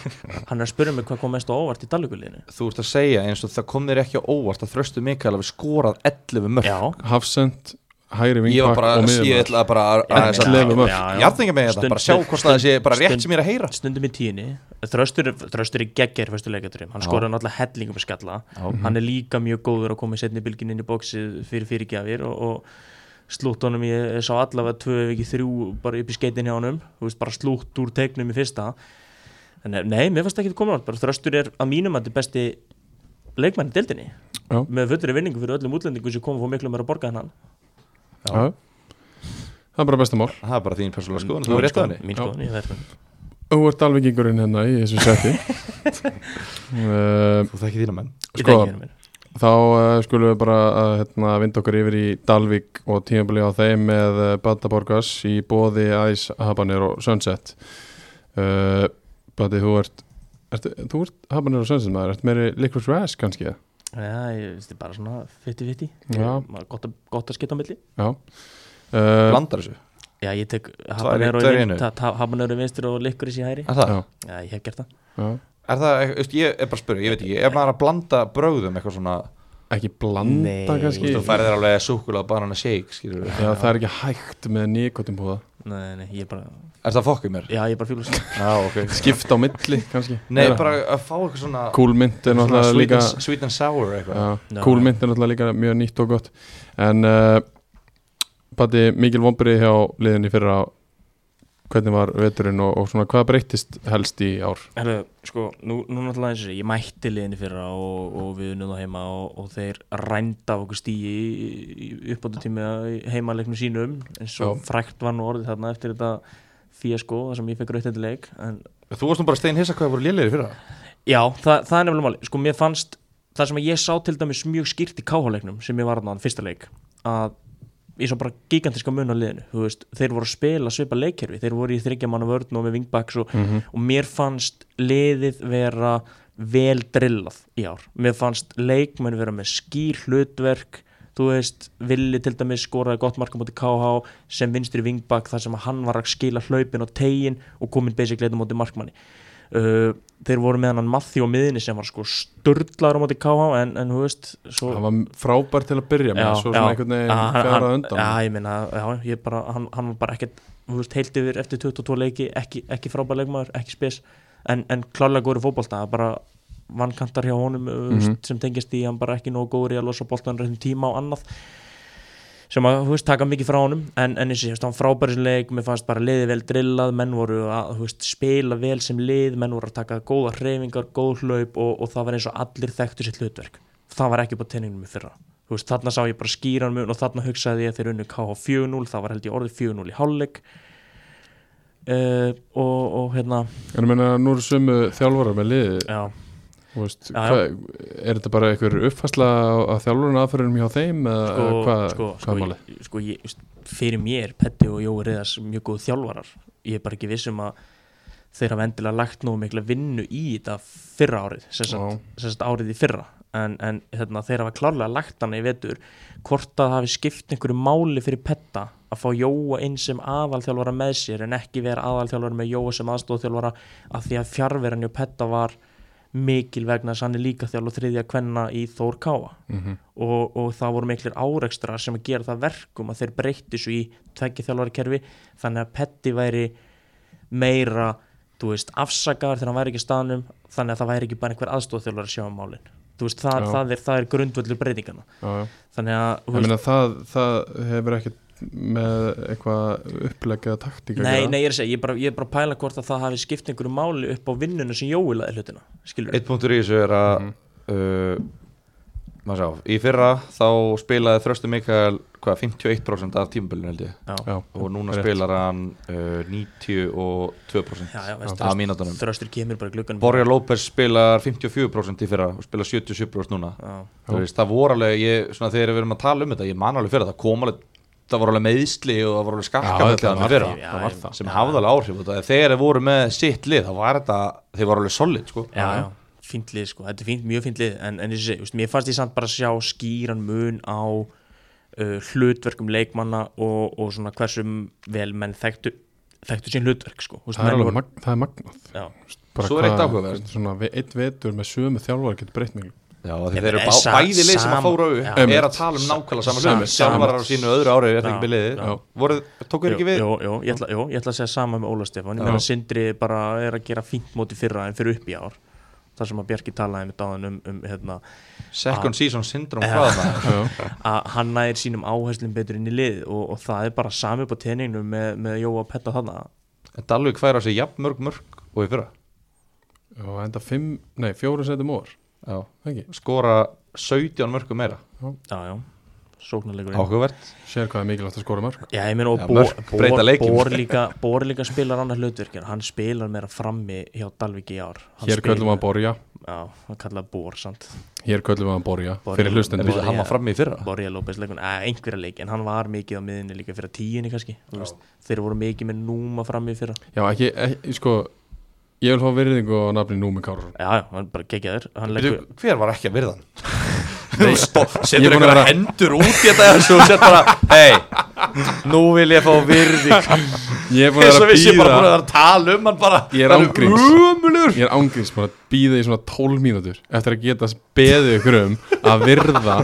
hann er að spyrja mig hvað kom mest á óvart í Dalvíkuliðinu Þú ert að segja eins og það kom þér ekki á óvart að þröstu Mikael hafi skorað 11 mörg Já, Hafsend, hægri Ég var vingpakk bara og að miðjum síða ætla að bara Já, aðeins að já, 11 mörk. já, já. Jarðinga með þetta, Stund- hérna, bara sjá hvort það sé bara rétt sem ég er að heyra Stundum í tíni, þröstur, þröstur í geggjær fyrstu leikaturum, hann skoraði náttúrulega hellingum með skalla, Mhm. hann er líka mjög góður að koma í setni bylgin inn í bóksið fyrir fyrirgjafir og, og slútt honum, ég sá allavega tvö ef ekki þrjú bara upp í skeitin hjá honum, þú veist, bara slútt úr teiknum í fyrsta en eh, nei, mér fannst ekki að koma nátt, bara þröstur er að mínum að þetta besti leikmann í deildinni Já. með fullri vinningu fyrir öllum útlendingum sem kom og fór miklu meira að borga en hann Já. Það er bara besta mál Það er bara þín persónulega skoðun, þú er rétt að henni mín Já. skoðun, ég verður Þú ert alveg [laughs] yngurinn hérna í þessu seti uh, Þú þekki þína menn Sko, Þá uh, skulum við bara uh, hérna, vinda okkur yfir í Dalvík og tímabili á þeim með uh, Bataborgas í bóði Æs, Habanir og Sunset. Uh, Bati, þú ert, ert, þú ert Habanir og Sunset maður, ert meiri Liquid Rash kannski? eða? Já, ég veist, þetta er bara svona 50-50 Já. Ég- maður gott, að- gott að skita á milli Já. Uh, Blandar þessu Já, ég tek Tvær í- habanero tvær í í einu. vinst Habanero í vinstir og likuris í hæri Er það? Já. Já, ég hef gert það já. Er það, þú veist, ég er bara að spyrja, ég veit ekki Er maður að blanda bröðum eitthvað svona Þú Ekki blanda Nei. kannski? veist, þú færið þér alveg súkulega banana shake, skilur við Já, það er ekki hægt með nikotinbúða. Nei, nei, ég er bara Er það fokkið mér? Já, ég er bara fílust [laughs] Já, ok Skipta á milli kannski? Nei, bara að fá eitthvað svona Kúlmynd er svona náttúrulega sweet, líka... and, sweet and sour eitthvað Já. Kúlmynd er náttúrulega líka mjög nýtt og gott En uh, Patti, mikil vombrið hjá liðinni fyrir að hvernig var veturinn og, og svona hvað breyttist helst í ár Herru, sko, nú, nú náttúrulega eins og ég, ég mætti liðinni fyrra og, og við unnum þá heima og, og þeir rænda af okkur stíi í, í uppbótutími í heimaleiknum sínum eins og Já. frækt var nú orðið þarna eftir þetta fíasko þar sem ég fekk rautt þetta leik en Þú varst nú bara stein hissa hvað það voru lélegir fyrir það Já, það, það er nefnilega máli Sko, mér fannst það sem að ég sá til dæmis mjög skýrt í káháleiknum sem ég var þarna á fyrsta leik að ég sá bara gigantiska mun á liðinu þú veist, þeir voru að spila svipa leikkerfi þeir voru í þryggja manna vörn og með vingbaks og, og mér fannst liðið vera vel drillað í ár mér fannst leikmenn vera með skýr hlutverk þú veist, Villi til dæmis skoraði gott marka mútið KH sem vinstri vingbak þar sem að hann var að skila hlaupin og tegin og komin basically þetta mútið markmanni uh, þeir voru með hann Matthew á miðinni sem var sko sturdlaður á mútið KH en, en þú veist svo, Það var frábær til að byrja með svo svona einhvern Já, veginn hann- fjara hann- undan Já, ég meina, já, ég bara, hann, hann var bara ekkert þú veist, heilt yfir eftir 22 leiki ekki, ekki frábær leikmaður, ekki spes en, en klálega góður í fótbolta það er bara vannkantar hjá honum mm Mhm. sem tengist í, hann bara ekki nógu góður í að losa boltan reyndum tíma og annað sem að, þú veist, taka mikið frá honum en, en eins og ég veist, hann frábæri sem leik mér fannst bara liðið vel drillað, menn voru að þú veist, spila vel sem lið, menn voru að taka góða hreyfingar, góð hlaup og, og það var eins og allir þekktu sitt hlutverk það var ekki upp á tenningnum í fyrra Þú veist, þarna sá ég bara skýran mun og þarna hugsaði ég að þeir unnu KH 4-0, það var held ég orðið 4-0 í hálfleik uh, og, og hérna En ég meina, nú eru sömu þjálfarar með liði já, þú veist, Já, já. hva, Er þetta bara einhver uppfæsla á þjálfurinn aðferðinum hjá þeim eða sko, eða Uh, hvað sko, hvað sko, er málið? ég, sko ég, veist, fyrir mér Petti og Jói Reyðars mjög góð þjálfarar ég er bara ekki viss um að þeir hafa endilega lagt nú mikla vinnu í þetta fyrra árið, sem Já. sagt, sem sagt árið í fyrra en, en hérna, þeir hafa klárlega lagt hann í vetur hvort að það hafi skipt einhverju máli fyrir Petta að fá Jóa inn sem aðalþjálfara með sér en ekki vera aðalþjálfara með Jóa sem aðstóðþjálfara af því að fjárveran hjá Petta var mikil vegna þess að hann er líka þjálfur þriðja kvenna í Þór Káa og, og það voru miklir árekstrar sem að gera það verkum að þeir breytti svo í tveggjaþjálfarkerfi þannig að Petti væri meira þú veist, afsakaðar þegar hann væri ekki í staðnum þannig að það væri ekki bara einhver aðstofþjálfar að sjá um málin þú veist, það, Já. það, er, það er grundvöldur breytingana Já, já. þannig að Ég þú veist, meina, það, það hefur ekkert með eitthvað upplegg eða taktík að nei, gera. nei, ég er að segja ég er bara, ég er bara að pæla hvort að það hafi skipt einhverju máli upp á vinnuna sem Jói laði hlutina skilur Eitt punktur í þessu er að uh, maður sá, í fyrra þá spilaði Þröstu Mikael hvað, 51% af tímabölinu held ég já, Já, og núna Rétt. spilar hann uh, 92% já, já, veist, af mínútonum þröstur kemur bara í glugganum Borja López spilar 54% í fyrra og spilar 77% núna já, Þú veist, það voru alveg, ég, svona þegar við erum að tala um þetta ég man alveg fyrir það, kom alveg það voru alveg meiðsli og það voru alveg skakka Já, þetta var fyrra, því, já, Það var ég- það. sem hafði alveg áhrif á þetta. þegar þeir voru með sitt lið þá var þetta, þeir voru alveg solid sko. já, já, fínt lið sko, þetta er fínt, mjög fínt lið en, en ég segi, þú veist, mér fannst ég samt bara að sjá skýran mun á uh, hlutverkum leikmanna og, og svona hversum vel menn þekktu, þekktu sín hlutverk sko, Þú það veist, er menn alveg voru- mag, það er magnað já. Svo er eitt áhugavert. Svona ve- einn vetur með sömu þjálfari getur breytt miklu Já, af því Ég þeir eru meina, eh, bá, sa- bæði lið sem sama- að fóra Já. auð er að tala um nákvæmlega Sa- saman hlut sama- sjálfarar á sínu öðru ári, er það Já, ekki með liðið já. Voruð- tóku þér ekki við Jó, jó, ég, ætla, jó, ég ætla að segja sama með Óla Stefán ég meina Sindri bara er að gera fínt móti fyrra en fyrir upp í ár þar sem að Bjarki talaði með dáðan um, um [laughs] hérna, second season syndrome, hvað er það að hann næðir sínum áherslum betur inn í lið og, og það er bara sami upp á teiningnum með, með Jóa Petta þarna Þetta alveg hver á sig jafn mörg mörg og í fyrra og enda fimm, nei, fjóru setum ór já. ekki, skora 17 mörgum meira já, já, sóknarleikurinn áhugavert sér hvað er mikilvægt að skora mörg Já, ég meina og Já, Bor, mörk Bor, breyta leikjum. Bor, líka, Bor líka spilar annað hlutverkir hann spilar meira frammi hjá Dalvik í ár hann hér spilar- köllum við að borja já, hann kallaði Bór samt Hér köllum við hann Borja Borja. fyrir En hlustendur býttu, hann var frammi í fyrra Borja López leikun, að einhverja leik en hann var mikið á miðinni líka fyrir tíinni kannski þú veist, þeir voru mikið með núma fram í fyrra Já, ekki, ekki, sko Ég vil fá virðingu á nafni Númi Kárur já, já, hann bara geggjaður hann Býttu, leggur, Hver var ekki að virða hann? Þú stó- ég Setur er búin að einhverja vera- hendur út í þetta þessu og setur [laughs] bara Hei, nú vil ég fá [laughs] virðing Ég er búin að Þess að vera við séum bara að búin að býða vera að tala um hann bara Ég er Hann ángríns. ömurlegur. Ég er ángriðs búin að býða í svona 12 mínútur eftir að geta beðið ykkur um að virða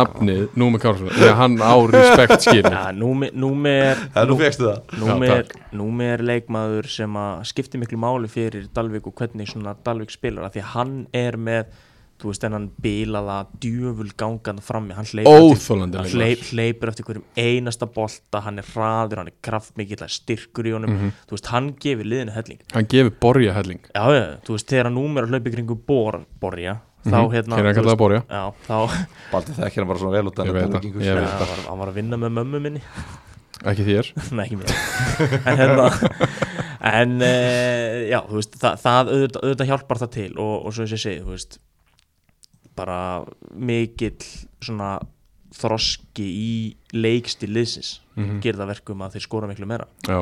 nafnið Númi Kárur því að hann á respekt skilur [laughs] já, númi, númi er Já, Nú fegstu það Númi Já, er, númi er leikmaður sem að skiptir miklu máli fyrir Dalvik og hvernig svona Dalvik spilar af því að hann er með þú veist þennan bílaða djöful gangan frammi, hann hleypur Óþolandi eftir, hann leikmaður. hleyp, hleypur eftir hverjum einasta bolta hann er hraður, hann er kraftmikill hann er styrkur í honum, Mhm. þú veist hann gefur liðinu helling, Hann gefur Borja helling já, já, þú veist þegar númi er að hlaupa í kringu bor, borja þá hérna, Hér er Mhm. hann þú kallað veist- Borja já, þá, Baldi þekkir hann bara svona vel út Ég veit það, ég já, veit hann, var, hann var að vinna með mömmu minni Ekki þér Nei, ekki mér En, hérna, en e, já, þú veist, það, það auðvitað, auðvitað hjálpar það til og, og svo þess að segja, þú veist bara mikill svona þroski í leikstil liðsins gerir það verkum að þeir skora miklu meira Já,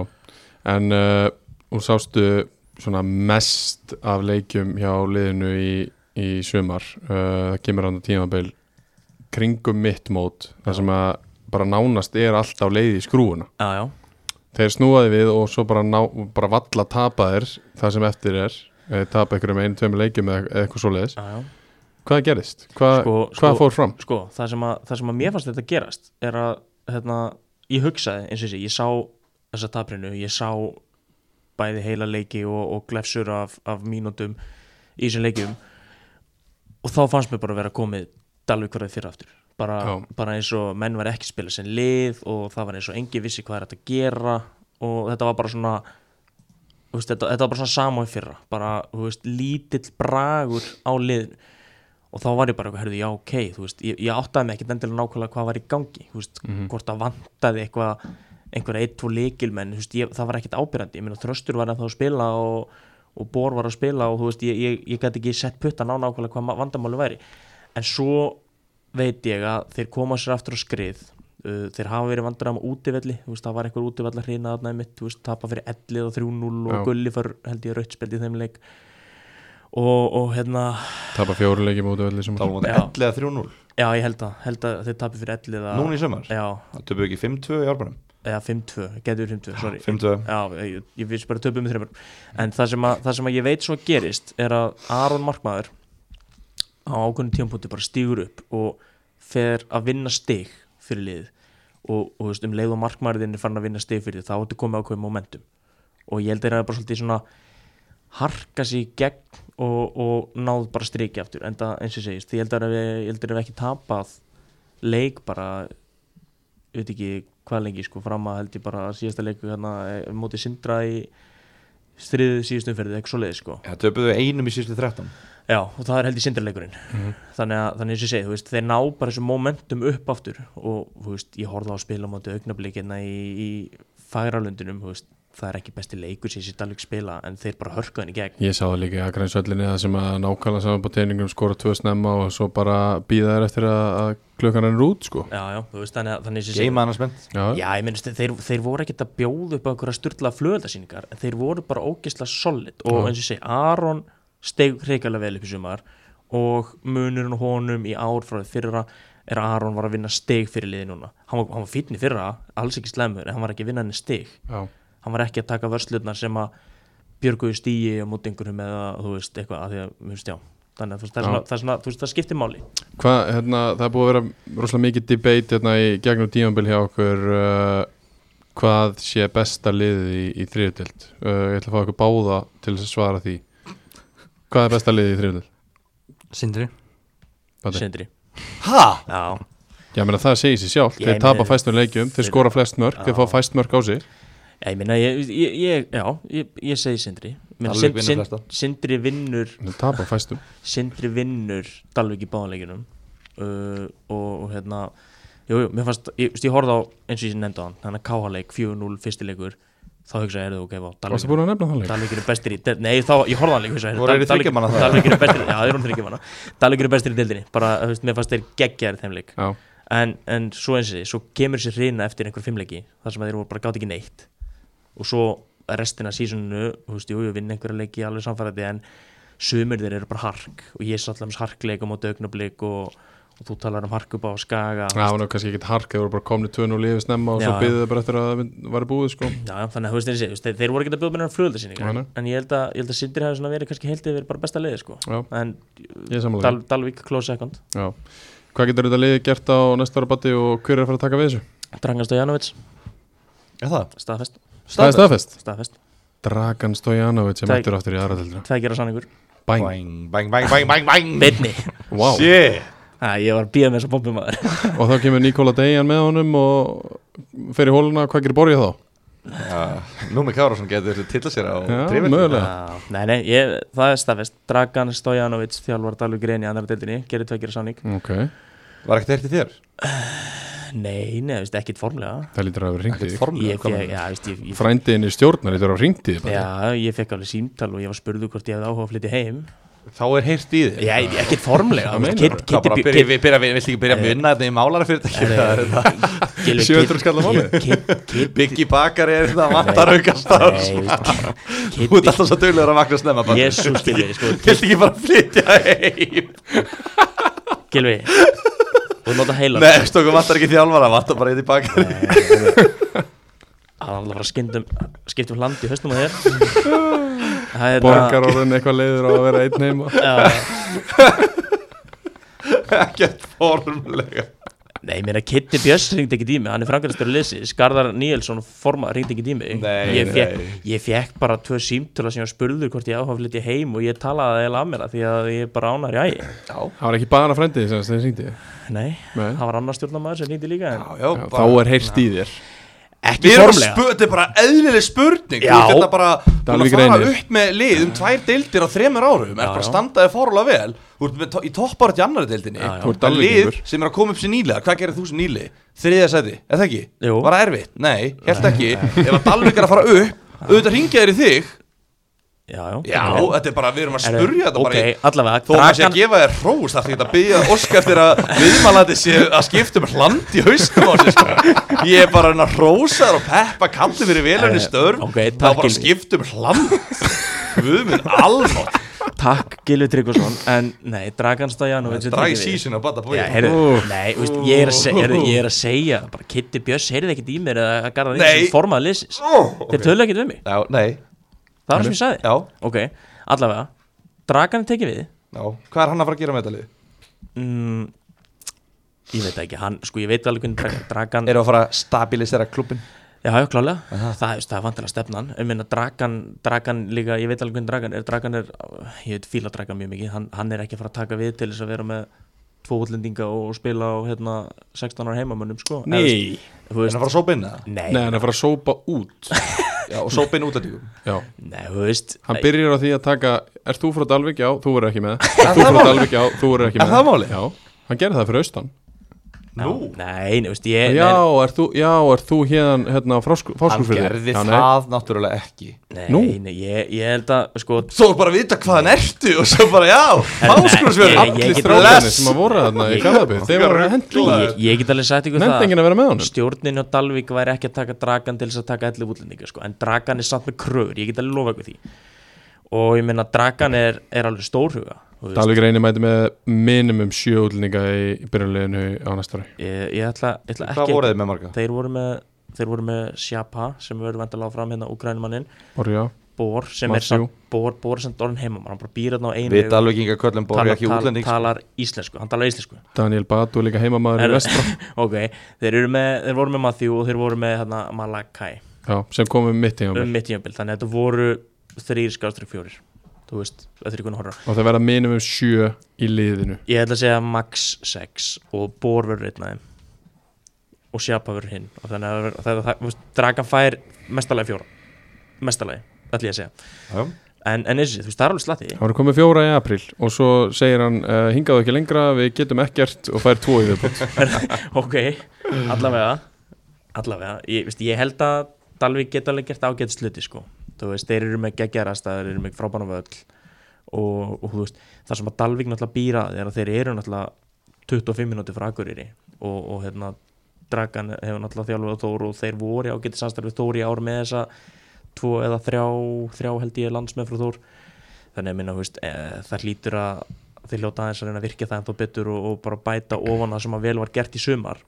en uh, og sástu svona mest af leikjum hjá liðinu í, í sumar uh, það kemur hann að tímabil kringum mitt mót þar sem að bara nánast er allt á leiði í skrúuna Já, já, þeir snúaði við og svo bara, ná, bara valla tapa þér það sem eftir er eh, tapa ykkur um einu, tveim leikjum eða eða eitthvað svoleiðis já, já. hvað gerðist? Hva, Sko- hvað sko- fór fram? Sko, það sem, að, það sem að mér fannst þetta gerast er að hérna, ég hugsaði eins og þessi, ég sá þessa taprinu, ég sá bæði heila leiki og, og glefsur af, af mínútum í þessum leikjum og þá fannst mér bara vera komið dalveg hverðið fyrir aftur bara, Já. bara eins og menn var ekki að spila sem lið og það var eins og engi vissi hvað er þetta að gera og þetta var bara svona þú veist, þetta, þetta var bara svona sama í fyrra bara, þú veist, lítill bragur á liðinu og þá var ég bara, eitthvað, herðu, já, ok, þú veist, ég, ég áttaði mig ekkert endilega nákvæmlega hvað var í gangi, þú veist, hvort það vantaði eitthvað, einhverja eitt, tvo leikilmenn, þú veist, ég, það var ekkert ábyrjandi, ég meina, þröstur var ennþá að spila og, og bor var að spila og, þú veist, ég, ég, ég gæti ekki sett puttan á nákvæmlega hvað ma- vandamáli væri, en svo veit ég að þeir koma sér aftur á skrið, uh, þeir hafa verið vandræðum á útivelli, þú veist, það var einhver útivelli að hrýna þarna í mitt, þú veist, tapa fyrir 11 og 3-0 og Já. gulli fyrr, held ég, rautspild í þeim leik og, og hérna, tapa fjóru leikjum út af öllu sem Það var mútið Já. 11 eða 3-0 Já, ég held að, held að þeir tapir fyrir 11 eða, Núna í sömur Já, Það töpu ekki 5-2 í árbænum eða 5-2, getur 5-2, sorry 5-2 Já, ég, ég vissi bara töpum með þreymur En það sem, að, það sem að ég veit svo gerist er að Aron Markmaður á ákveðnum tímpúnti bara stígur upp og fer að vinna stig fyrir liðið og, og þú veist, um leið og markmaðurinn er farin að vinna stig fyrir þið þá ertu komið ákveðið momentum og ég held þeir að bara svolítið svona harka sig í gegn og, og náð bara striki aftur en það eins og ég segist, ég held að við, ég held að við ekki tapað leik bara ég veit ekki hvað lengi sko fram að held ég bara síðasta leiku hérna eh, móti sindra í stríðu síðustu umferðið, ekki svo leiði sko Það töpuðu einum í síðustu 13 já og það er held ég sindraleikurinn þannig að þannig að ég segi, þú veist, þeir ná bara þessu momentum upp aftur og þú veist, ég horfði á spila á móti augnablikina í, í fagralundinum, þú veist það er ekki besti leikur sem ég sér alveg spila en þeir bara hörka henni gegn Ég sá það líka í Akransöllinni það sem að nákvæmlega saman på teiningum skora tvö snemma og svo bara býða þær eftir að, að klukkan er út sko. já, já, þú veist, þannig að þannig að ég segi Geima annars mennt Já, Já, ég minnst, þeir, þeir voru ekkert að bjóða upp okkur að styrla flöðarsýningar en þeir voru bara ógisla solid og eins og ég segi, Aron steg hrikalega vel upp í sumar og munurinn á honum í ár frá því fyrra er að Aron var að vinna steg fyrir liði núna hann var, hann var fínn í fyrra, alls ekki slemur en hann var ekki að vinna henni steg já. hann var ekki að taka vörslutnar sem að björguðu stíi á móti einhverjum eða þú veist, eitthvað, að því að, þú veist, já þannig að þú veist, það, er Já. svona, það, er svona, þú veist, það skiptir máli Hvað, hérna, það er búið að vera rosalega mikið debate hérna í gegnum tímanbili hjá okkur uh, hvað sé besta liðið í, í þriðutild. Uh, ég ætla að fá okkur báða til þess að svara því. Hvað er besta liðið í þriðutild? Sindri Baddi? sindri, Hæ? já Já, menn það segir sér sjálf. Ég Þeir tapa meina- fæstum leikjum, þeir skora flest mörg, þeir fá fæst mörg á sig. Já, ég minna, ég, ég, ég, já, ég, ég segi Sindri Meina, Dalvík Sind- vinnur Sind- flesta. Sindri vinnur Þeir tapa fæstum. Sindri vinnur Dalvik í báðanleikinum uh, og, og hérna jú, jú, mér fannst, ég, þú veist, ég horfði á eins og ég nefndi á hann, hann að káhaleik 4-0 fyrstileikur þá hugsa ég, heyrðu, ok, vá, Varstu búin að nefna það leik? Dalvíkir er bestir í deildinni Nei, þá, ég horfði alveg hugsa Voru þeir í þriggja manna þá? Dalvíkir er bestir, já, þeir eru þryggja manna Dalvíkir er bestir í deildinni Bara, þú veist, mér fannst þeir geggjaðir í þeim leik Já, en, en svo eins og því, svo kemur sér hreina eftir einhver fimmleiki Þar sem að þeir voru bara gátt ekki neitt Og svo restina sísuninu, þú veist, jú, ég vinn einhverja leiki alveg samfærandi En sumir þeir eru bara hark Og ég satt alveg harkleik á móti augnablik og, og þú talar um hark upp á skaga það var nú kannski ekkert hark þeir voru bara komni tvönu og lifið snemma og svo Já, já. byggðu þau bara eftir að það væri búið sko Já, já, þannig að þú veist þessi, þú veist, þeir, þeir voru ekki að bjóða mér um Nei, flugöldasýningar nei. en ég held að, ég held að Sindri hafi svona verið kannski heilt yfir bara besta leiði sko Já, en ég er samanlega Dal, Dalvík close second Já, hvað getur þetta liðið gert á næsta ára bati og hver er að fara að taka við þessu? Dragan Stojanovic, Er það? staðfest, Það er staðfest staðfest Dragan Stojanovic sem Tæk- eftir áttur í aðra tildra Tveið gera sanningur, Bæn, Bang, bang, bang, bang, bang, bang beinni vá Shit [laughs] Æ, ég var að bíða með þessu bombi maður [laughs] Og þá kemur Nikola Dejan með honum og fer í hóluna, hvað gerir borgið þá? Já, Númi Kárásson getur tilla sér á Já, trivialinu. mögulega. Já, Ah, Nei, nei, ég, það er staðfest Dragan Stojanovic, þjálfar Dalvík reyni í annar deildinni, gerir tveið gera sanning Ok, Var ekkert eitt í þér? Nei, nei, þú veist, ekkit formlega það lítur að hafa ringt í þig. Ekkert Ég, formlega ég, komið. já, þú veist, ég, ég Frændiðin í stjórnar lítur að hafa ringt í þig bara. Já, ég fekk alveg símtal og ég var spurðu hvort ég hefði áhuga að flytja heim Þá er heyrt í þér Já, ég- ekkert formlega þú veist, Kiddi- Hvað bara, Kiddi- byrja, byrja, byrja, viltu ekki byrja að vinna þetta í málara fyrirtæki? Nei, Gylfi, 700 skall á mánuði? [laughs] Biggi Bakar er hérna þetta vantar aukast á Þú ert alltaf svo duglegur að vakna snemma bara. Jésús Gilvi sko, [laughs] Viltu ekki bara flytja heim? Gilvi Þú nota heila Nei, stóku vantar ekki þjálfara, vantar bara eitt í Bakar Það er alltaf bara skindum Skiptum um- land í [laughs] höstum að þér Það er Borgar orðin eitthvað leiður á að vera einn heima Já, [laughs] Ekkert formlega Nei, mér að Kitty Björns ringdi ekki í mig Hann er frangastur liðsins Garðar Níelsson forma ringdi ekki í mig Nei, ég, fekk, nei. ég fekk bara tvö símtöla sem ég var spurður hvort ég áhuga að flytja heim og ég talaði eða að mér það því að ég er bara ánar í ægi Það var ekki bara frændiði sem þeir ringti Nei, Nei. það var annar stjórnamaður sem ringdi líka en Já, já, Þá bara- er heyrt í þér Ekki Við erum að formlega spöta, þetta er bara eðlileg spurning Já. Þú ert þetta bara búin að Dalvík fara reynir. upp með lið um tvær deildir á þremur árum Er Já, bara já. standaði fórulega vel Þú ert með to í toppárat í annari deildinni Já, já. Þú ert Það er Lið Dalvíkingur. sem er að koma upp sér nýlega, hvað gerir þú sem nýli? Þriðja sæti, er það ekki? Jú. Var það erfitt? Nei, held ekki Ef að Dalvík er að fara upp, auðvitað ringja þér í þig Já, já, Já, þetta er bara, við erum að Herru, spurja þetta bara Ok, í allavega Þó maður sé Dragan- að gefa þér hrós, það er ekki að byggja Óskar eftir að viðmalandi sé að skipta um hland í haustum á sér sko. Ég er bara að hrósa þér og peppa kallir fyrir velunni störf Eh, Ok, Það er takk, bara að Gylfi. skipta um hland Guð minn, almátt Takk Gilvi Tryggvason En nei, Dragan Stajanovic Dragi sísun á bata Já, búið heyrðu, Úff. nei, veist, ég, er að segja, heyrðu, ég er að segja bara Kitty Björns heyrði ekkert í mér eða að garða því Nei. sem formaði liðsins Þeir tölu ekkert við mig, Já, nei, það var það sem ég sagði já, Ok, allavega, Dragan er tekið við já Hvað er hann að fara að gera með þetta lið? mm, Ég veit það ekki, hann, sko ég veit alveg hvernig Dragan- Dragan Eru að fara að stabilisera klubbin? Já, já, klálega, það, veist, það er vantilega stefnan Ég meina, Dragan, Dragan líka, ég veit alveg hvernig Dragan er Dragan er, ég veit fíla Dragan mjög mikið hann, hann er ekki að fara að taka við til þess að vera með tvo útlendinga og spila á hérna, 16 ára heimamönnum, sko Eða, Nei. þú Er hann veist, að fara að sópa inn það? Nei, Nei, hann er að fara að sópa út Já, og sópa inn útlætíkum Já nei, þú veist Hann byrjar á því að taka, ert þú frá Dalvik? Já, þú verður ekki með Ert þú frá málið? Dalvik? Já, þú verður ekki Er með það málið? Já, hann gerði það fyrir austan Nú? Nei, nei, þú veist, ég Já, ert þú, já, ert þú héðan hérna á Hann fáskúrfyrði? gerði það náttúrulega ekki Nei, Nú? nei, ég, ég held að, sko Þú er bara að vita hvaðan ertu og svo bara já, ég- háskólusverð Eh, ég- ég get- Stráðinni sem að voru þarna í Garðabíð Þeir voru hendla ég, ég get alveg sagt ykkur Nefndi enginn að vera með honum? Stjórnin og Dalvik væri ekki að taka dragan til þess að taka 11 útlendinga sko. En dragan er samt með kröfur, ég get alveg lofa ykkur því Og ég meina dragan er, er alveg stórhuga þú veist. Dalvik reynir mæti með minimum sjö útlendinga í byrjuleginu á næsta ári Ég, ég ætla, ég ætla Hvað ekki voru þið með marga? Þeir voru með Þeir voru með Sjapa sem verður vendalega fram hérna Ukrænumanninn, Borja, Bór sem er Matthew. samt Bór, Bór er samt orðin heimamar, hann bara býr hérna á einu Við dalvíkinga köllum borði talar, ekki talar, útlendings sko. talar íslensku, hann talar íslensku Daniel Batu er líka heimamaður í Er- vestra [laughs] ok, þeir, eru með, þeir voru með Matthew og þeir voru með hérna, Malakai Já, sem komum mitt í um mitt jömbil, þannig að þetta voru þrýr skástrík fjórir þú veist, eftir einhvern horra Og þeir verða minimum sjö í liðinu ég ætla að segja max 6 og Bór verður einn af þeim og Sjapa verður hinn og þannig að það, það, það, þú veist, Dragan fær mestalagi fjóra mestalagi, ætla ég að segja en, en þessi, þú veist, það er alveg slatti [laughs] Það voru komið fjóra í april og svo segir hann uh, hingaðu ekki lengra, við getum ekkert og fær [laughs] tvo í viðbútt ok, allavega allavega, ég, veist, ég held að Dalvík geta alveg gert ágætt sluti sko. þú veist, þeir eru með geggjarast þeir eru með frábæna völl og, og þú veist, þar sem að Dalvík náttúrulega býra er að þeir eru náttúrulega 25 minúti frá Akureyri og, og hérna Dragan hefur náttúrulega þjálfað Þór og þeir voru í ágætti samstarfið Þór í ár með þessa tvo eða þrjá, þrjá held ég landsmenn frá Þór þannig að minna, þú veist, e, það hlýtur að þeir hljóta aðeins að reyna að virkja það en þó betur og, og bara bæta ofan það sem að vel var gert í sumar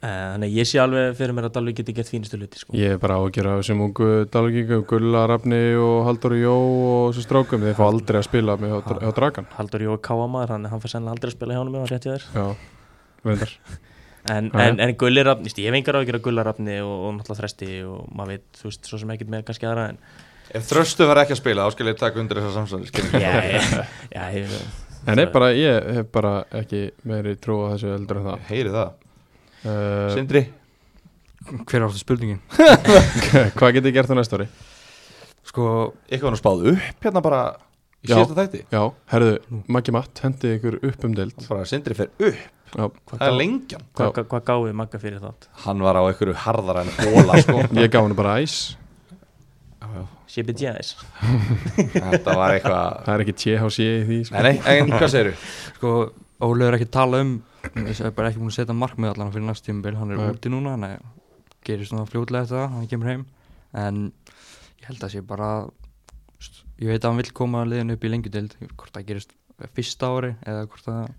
Eh, Þannig að ég sé alveg fyrir mér að Dalvi geti gert fínustu hluti sko. Ég er bara á að gera þessum ungu dalgingum, Gulla, Rafni og Haldur Jó og þessu strákum, þeir fá aldrei að spila með hjá, hjá Dragan. Haldur Jói Káa maður, hann, hann fær sennilega aldrei að spila hjá honum ef hann rétt hjá þér Já, reyndar. En, Já, já. en, en gullirafni, ég hef engar á að gera gullirafni og, og náttúrulega þresti og maður veit, þú veist, svo sem ekkert með kannski aðra en Ef þröstu var ekki að spila, þá skal ég taka undir þessar samsvæðis Já, ég, já, ég, En ney, bara, ég hef bara ekki meiri trú á þessu eldur en það. Heyri það, Uh, Sindri Hver áttu spurningin? [laughs] hvað getið gert á næsta ári? Sko, Eitthvað var nú spáð upp hérna bara í Já. síðasta þætti Já, herðu, Maggi Matt hendi ykkur upp um deild. Bara Sindri fer upp, Já, það er lengjan hvað hva, hva gáði Magga fyrir þátt? Hann var á einhverju harðara en hóla sko [laughs] ég gaf henni bara æs. CBGS Þetta var eitthvað Það er ekki THC í því, sko. Nei, nei, en hvað segirðu? sko, Óli er ekki að tala um ég er bara ekki búin að setja markmið allan fyrir næst tímabil, hann er Nei. úti núna hann er, gerir svona fljótlega eftir það, hann kemur heim en ég held að sé bara st- ég veit að hann vil koma liðin upp í lengjudeild, hvort það gerist fyrsta ári eða hvort það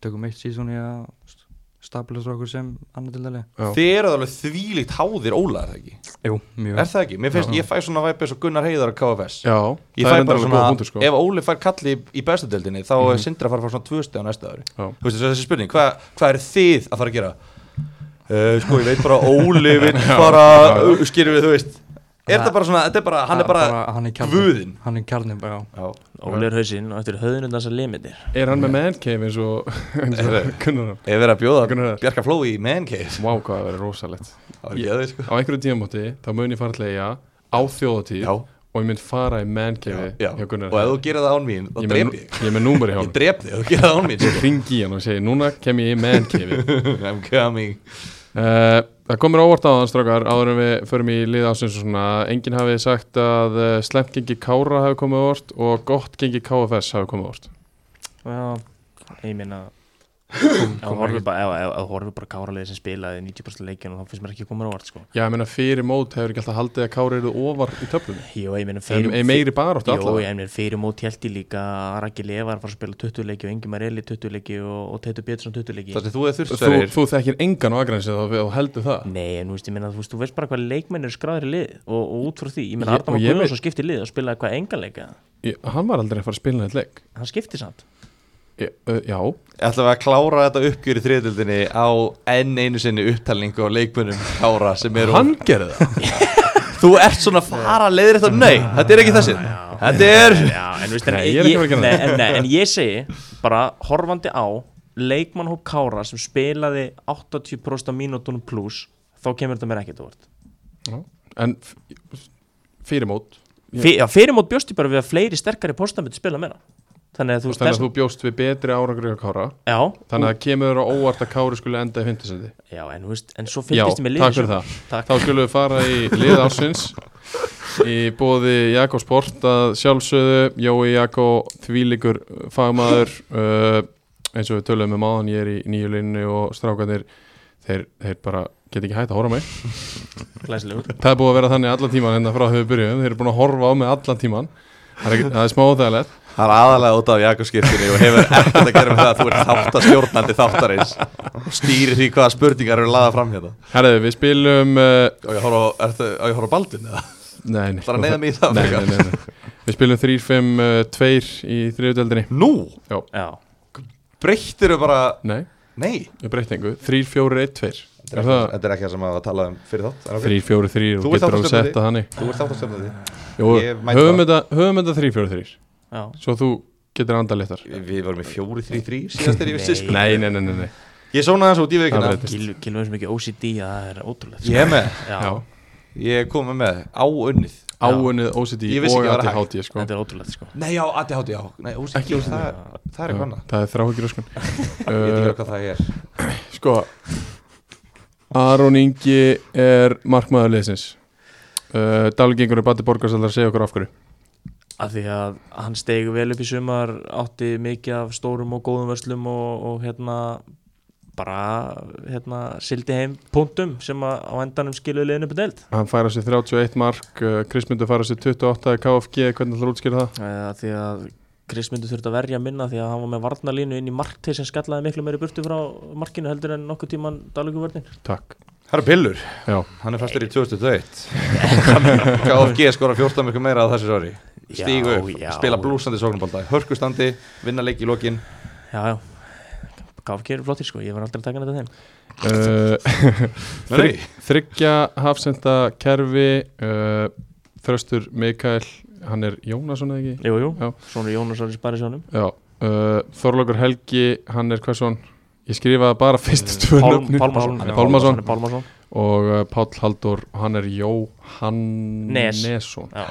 tökum eitt síðan í að st- stabilisa okkur sem annar dildali Já. Þið eruð alveg þvílíkt háðir Óla, er það ekki? Jú, mjög Er það ekki? Mér finnst, ég fæ svona væpið svo Gunnar Heiðar og KFS Já, Ég það fæ er bara bara svona, góð hundur, sko. Mhm. ef Óli fær kalli í- í bestadeldinni þá er Sindri að fara að fá svona tvö stið á næsta ári Já. Þú veist þessi- þessi spurning, hvað hva er þið að fara að gera? Uh, sko, ég veit bara að Óli [laughs] vil bara, uh, skýrur við, þú veist Er Það- það bara svona, þetta er bara, hann er Það- bara hann er guðinn. kjarnin, hann er kjarnin bara, já. Já, Ólir hausinn og eftir höðunum þessar limitir Er hann með man cave eins og, eins og Gunnar? ég verið að bjóða Gunnar. Bjarka Fló í Man Cave Vá, hvað það verið rosalegt. Það var ekki að sko Á einhverju tímamóti, þá mun ég fara að leiða á þjóðatíð Já, og ég mynd fara í man cave já, hjá Gunnar. og ef þú gerir það án mín, þá Ég er drep með- ég Ég er með númur í Ég hann drep þig, ef þú gerir það án mín sko. [laughs] Ég ringi í hann og segi Núna kem ég í man cave [laughs] I'm coming uh, Það komur óvart á þann strákar Áður en við förum í lið ásins og svona Enginn hafi sagt að uh, slemt gengi Kára hafi komið óvart Og gott gengi KFS hafi komið óvart Já, ég meina ef þú horfir bara, ef- ef- ef þú horfir bara káraliði sem spilaði 90% leikjum og þá finnst mér ekki komur á vart sko. Já, ég meina fyrir mót hefur ekki alltaf haldið að Kára eru ofar í töflunni Jó, ég meina Fyrir, fyrir, meiri bara áttu Jó, alltaf ég meina fyrir mót held ég líka að Raki Levar fara að spila 20 leiki og Ingemar Eli 20 leiki og, og Teitur Pétursson 20 leiki Það sem þú hefur þurft Þú, sverir þú þekkir engan á agrænsi þá þá heldur Mm. það Nei, en þú veist, ég meina, þú veist, þú veist bara hvað leikmenn eru skráðir í lið og, og út frá því, ég Ég- meina Arnum og og ég Guðjónsson skipti í lið og spilaði hvað engan leika, ég, Hann var aldrei að fara að spila neitt leik hann skipti samt ég, uh, Já, ætlum við að klára þetta uppgjör í þriðdildinni á enn einu sinni upptalningu á leikmönnum Kára sem eru hann gerði [laughs] það þú ert svona fara leiðir þetta nei, þetta er ekki þessi þetta er Já, en þú veist, en Nei, ég er ekki að fara að gera nei, það. en, nei, en ég segi bara horfandi á leikmannhóp Kára sem spilaði 80% af mínútunum pluss þá kemur þetta mér ekkert óvart En f- fyrir mót Ég- Fyr, já, fyrir mót bjóst ég bara við að fleiri sterkari postamötu spila meira þannig að þú veist Þannig að þess, þú bjóst við betri árangri á Kára já, Þannig að kemur þér á óvart að Kári skulle enda í fymtisendi já, en þú veist, en svo Já, fylgist ég með liðið takk fyrir svo- það Takk. Þá skulum við fara í lið ársins Í bóði Jakobs Port að sjálfsögðu Jói Jakó þvílíkur fagmaður uh, eins og við töluðum með máðan ég er í nýju linni og strákanir þeir, þeir bara get ekki hægt að horfa á mig Glæsilegur. Það er búið að vera þannig allan tíman hérna frá höfu byrjuðum þeir eru búin að horfa á mig allan tíman Það er, ekki, það er smá óþægilegt það er aðalega út af Jakobskirkjunni og hefur ekkert að gera með það að þú ert þáttastjórnandi þáttarins og stýri því hvaða spurningar eru laða fram hérna Herðu, við spilum uh, og ég horf á, ertu, á ég horf á baldin eða? Nei, nei Það er að neyða mig í það Nei, frekar. nei, nei, nei. Við spilum 3-5-2 í þriðutöldinni nú, já, breyttir bara Nei, nei, ég breytti engu 3-4-1-2 Er það þetta er ekki það sem að tala um fyrir þátt en ok. 3-4-3 og Þú ert getur alveg áttastjörnandi. setta þannig þú ert þáttastjórnandi Jú, Ég mæti höfum þetta höfum þetta 3-4-3 já Svo þú getur andað léttar Við- við vorum í 4-3-3 síðast er ég vissi sko. Nei, nei, nei, nei, nei. ég sónaði þessu út í veikina Það breytist. Gil- Gilvi er svo mikið OCD að það er ótrúlegt sko. ég er með já, Já, Ég kom með áunnið áunnið OCD Ég vissi og ekki að það var ADHD sko. þetta er ótrúlegt sko Nei, já, ADHD, já Nei, ósík, Ekki ósík. það, það Já, er [laughs] eitthvað annað Eh, Það er þráhugir öskun Ég veit ekki alveg hvað það er Sko Aron Ingi er markmaður liðsins uh, Dalgengur er Batti Borgars að segja okkur af hverju af því að hann steig vel upp í sumar átti mikið af stórum og góðum vörslum og, og hérna bara hérna sildi heim punktum sem að á endanum skiluði liðinu upp í deild Hann færa sér 31 mark, uh, Krismundur færa sér 28 í KFG, hvernig ætlar að útskýra það? Eh, af því að Krismyndu þurfti að verja minna því að hann var með varnalínu inn í markti sem skallaði miklu meiri burtu frá markinu heldur en nokkuð tíman daluguvörnin Takk Herra Pillur, Já, hann er fastur í [laughs] 2001 KFG skora 14 mjög meira á þessu ári Stígu upp, Já, já. spila blúsandi sóknumbalda Hörkustandi, vinna leik í lokin já já KFK eru flottir sko, ég var aldrei að taka þetta þeim uh, Nei, Þryggja hafsenda kerfi uh, Þröstur Mikael, hann er Jónasson eða ekki? Jú, jú, Já. svona Jónasson í Sparisjónum Já, uh, Þorlokur Helgi, hann er hversson Ég skrifaði bara fyrst tvö Pál, nöfnin. Pálmason Hann er Pálmason Hann er Pálmason og uh, Páll Haldur, hann er Jóhannesson Já.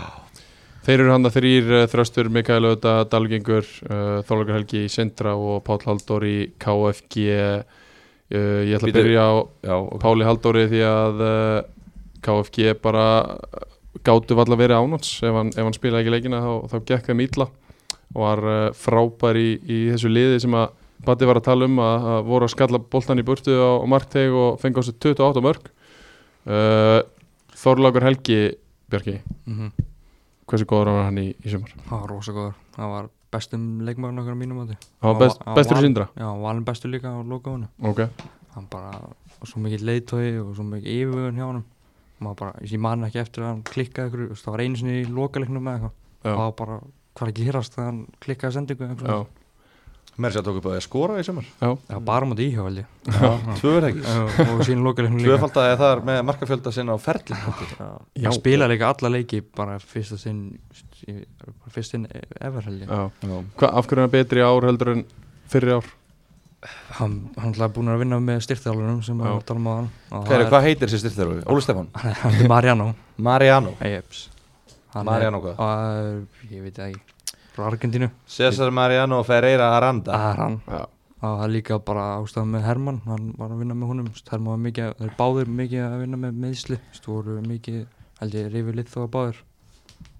Þeir eru hann að þrýr uh, þröstur Mikael Öta, Dalgengur, uh, Þorlokur Helgi í Sindra og Páll Haldur í KFG uh, Ég ætla Bíddu. að byrja á já, og Páli Halldóri því að uh, KFG bara gáttu valla verið ánáts ef hann, ef hann spilaði ekki leikina þá, þá gekk þeim ítla og var uh, frábær í, í þessu liði sem að Batti var að tala um að, að voru að skalla boltan í burtu á, á markteg og fengi á sig 28 mörg uh, Þorlákur Helgi Björki, Mhm. hversu góður var hann í, í sumar? Það var rosa góður Það var bestum leikmaður okkar mínum átti Hann var best, bestur í sindra Já, hann var alveg bestur líka á loka honum Ok, Hann bara, og svo mikið leiðtói og svo mikið yfirvögun hjá honum Maður bara, ég man ekki eftir að hann klikkaði ykkur Það var einu sinni í lokaleiknum með eitthvað já, Það var bara, hvað er að gerast þegar hann klikkaði sendingu eða eitthvað já, meira sér að tóku bæði að skora í sumar já, Já, bara mútið íhjá held ég Tvö verð ekki Já, og síðan lokaleiknum líka Tvöfaldaði þar með markafjölda sinna á ferli held ég. Já. Hann spilaði líka alla leiki bara fyrsta sinn í- bara fyrst sinn ever held ég já. Hva, Af hverju er hann betri í ár heldur en fyrri ár? Hann hann er búin að vinna með styrþjálfunum sem Já. hann tala um á hann og Hvað það er- er- Hvað heitir sér styrþjálfur? Óli Stefán [laughs] hann er Mariano Mariano Eyeps Mariano hvað? Ég veit það ekki Frá Argentínu Cesar Mariano Ferreira Aranda Það er hann Já, og það er líka bara ástæðan með Herman hann var að vinna með honum þú veist, Herman var mikið þeir báðir mikið að vinna með meðsli þú veist, voru mikið held ég rifið lit þó að báðir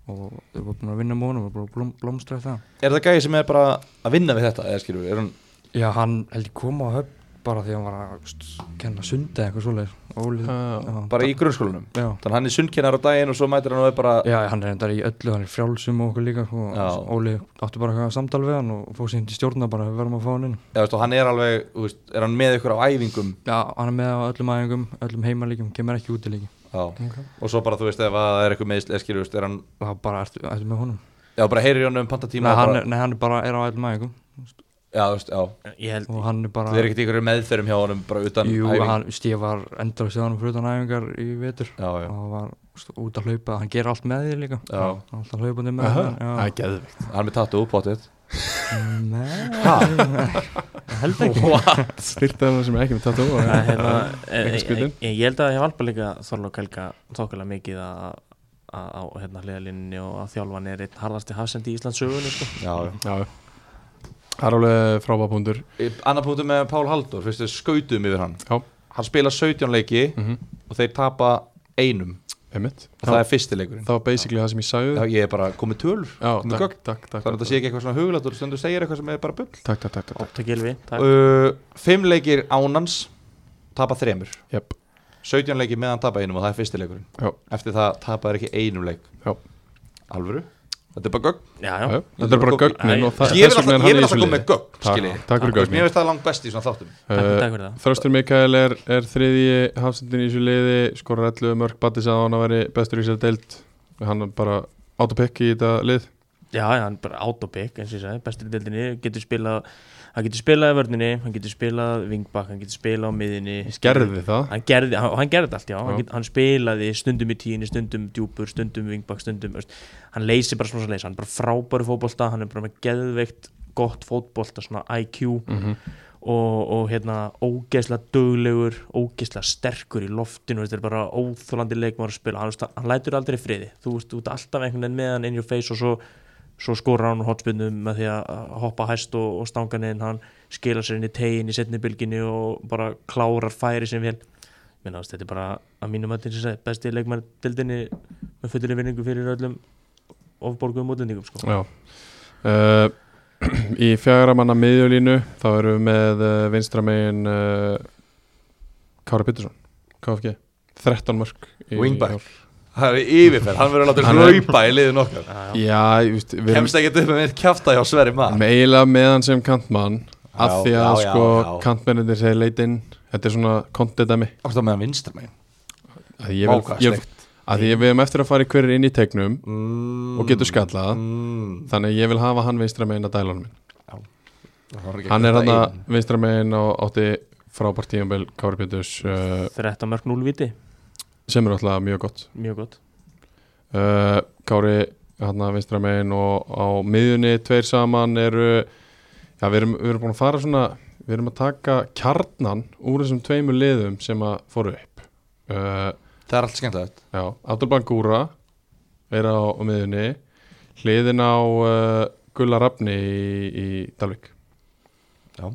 og þeir voru búin að vinna með honum og bara blóm, blómstræði það Er það gæði sem er bara að vinna við þetta? Eða skilur, er hann Já, hann held ég kom á höfn bara því að hann var að st, kenna sundi eitthvað svoleiðis Óli já, já, bara í grunnskólanum? já. Þannig hann er sundkennar á daginn og svo mætir hann og er bara já, hann er endar í öllu, hann er í frjálsum og okkur líka sko. Já. og Óli átti bara eitthvað samtal við hann og fór síðan til stjórna bara við verðum að fá hann inn Já, veist, og hann er alveg, þú veist, er hann með ykkur á æfingum Já, hann er með á öllum æfingum, öllum heimalíkjum, kemur ekki út í líki Já, og svo bara þú veist ef að það er eitthvað meðsl, eða skilur, þú veist, er hann Það bara ertu, ertu með honum Já, bara heyrir í honum um nei pantatíma og hann, bara, er, nei, hann er bara er á öllum æfingum Já, þú veist, já Ég held og hann er bara Þið er ekkert ykkur meðferðum hjá honum bara utan Jú, æfing hann, Stíf var endar að segja hann fyrir utan æfingar í vetur Já, já, og hann var st, út að hlaupa, hann ger allt með því líka já, Hann er Alltaf hlaupandi með Aha, hann, já. það er geðvikt hann er með tattu uppáttið Nei, held [laughs] ekki Styrta er það sem er ekki með tattoo Nei, en- hérna, Ekki eh, skrýtin. eh, Ég ég held að ég valpa líka Þorlók Helga þokkulega mikið að að- á hérna hliðalínni og að þjálfan er einn harðasti hafsendi í Íslands sögunni sko. Já, já Já Það er alveg frábæpundur Anna punktum með Pál Halldór, fyrstu skautum yfir hann Já. Hann spila 17 leiki Mhm. og þeir tapa einum Einmitt og það Það er fyrsti leikurinn það var basically það sem ég sagði Já, ég er bara komið tölur Já, komið takk, gögn. takk, takk Þannig að þetta sé ekki eitthvað svona huglætt og stundu segir eitthvað sem er bara bull Takk, takk, takk, takk Takk Gilvi, takk uh, Fimm leikir ánans tapa þremur Jep, 17 leikir meðan tapa einum og það er fyrsti leikurinn já, Eftir það tapa þeir ekki einum leik já, Alvöru? Þetta er bara gögn Já, já, já, Þetta er bara Ég- gögnin og það Ég vil þess vegna er hann alltaf, ég vil í þessu alltaf koma með liði. gögn Takk- skilji. takk fyrir Þú veist, gögnin. Mér finnst það langt best í svona þáttum takk, Uh, takk fyrir það Þröstur Mikael er, er þriðji hafsendin í þessu liði skorar 11 mörg Batti sagði að hann að veri bestur í sér deild Hann er bara autopick í þetta lið Já, já, hann er bara autopick eins og ég sagði, bestur í deildinni getur spilað, hann getur spilað í vörninni hann getur spilað vingbakk, hann getur spilað á miðinni Skerði það hann gerði, hann, hann gerði allt já, Hann, Já. get, hann spilaði stundum í tíinni stundum djúpur, stundum vingbak, stundum veist, hann leysi bara svona svo leysi, hann er bara frábæri fótbolta, hann er bara með geðveikt gott fótbolta, svona IQ og, og hérna ógeðslega duglegur, ógeðslega sterkur í loftinu, þetta er bara óþólandi leikmar að spila, hann, veist, hann lætur aldrei í friði þú veist, þú ert alltaf einhvern veginn með hann in your face og svo, svo skora hann hotspinnum með því að að hoppa hæst og, og stanga neðin hann skila sér inn í tegin í setni bylginni og bara klárar færi sem vel minna ást, þetta er bara að mínum að þess að besti leikmar dildinni með fullri vinningu fyrir öllum ofborguðum útlendingum sko. Já uh, [clears throat] Í fjara manna miðjulínu þá erum við með uh, vinstramegin uh, Kára Pétursson KFG, 13 mörg Wingback. Það er yfirferð, hann verður að Hann láta er- hlaupa í liðin okkar Já, já. Já, ég veist, við erum Kemst ekki upp með eitt kjafta hjá Sverri maður meila með hann sem kantmann af Já, því að já, já, sko já. kantmennir þeir leit inn þetta er svona kontidæmi Átt að með hann vinstra megin að ég, vil, Vá, hvað ég, að því ég við erum eftir að fara í hverjir inn í tegnum mm, og getur skallað mm, þannig að ég vil hafa hann vinstramegin að dæla honum minn það var ekki hann er þetta hann að einn. vinstramegin og átti frábært tíumbil Kári Péturs uh, 13 mörg 0 viti, sem er alltaf mjög gott mjög gott uh, Kári hann að vinstra megin og á miðjunni tveir saman eru já, við erum, við erum búin að fara svona við erum að taka kjarnan úr þessum tveimur liðum sem að fóru upp uh, Það er allt skemmtilegt já, Abdul Bangura er á, á miðjunni hliðin á uh, Gulla Rafni í, í Dalvik Já.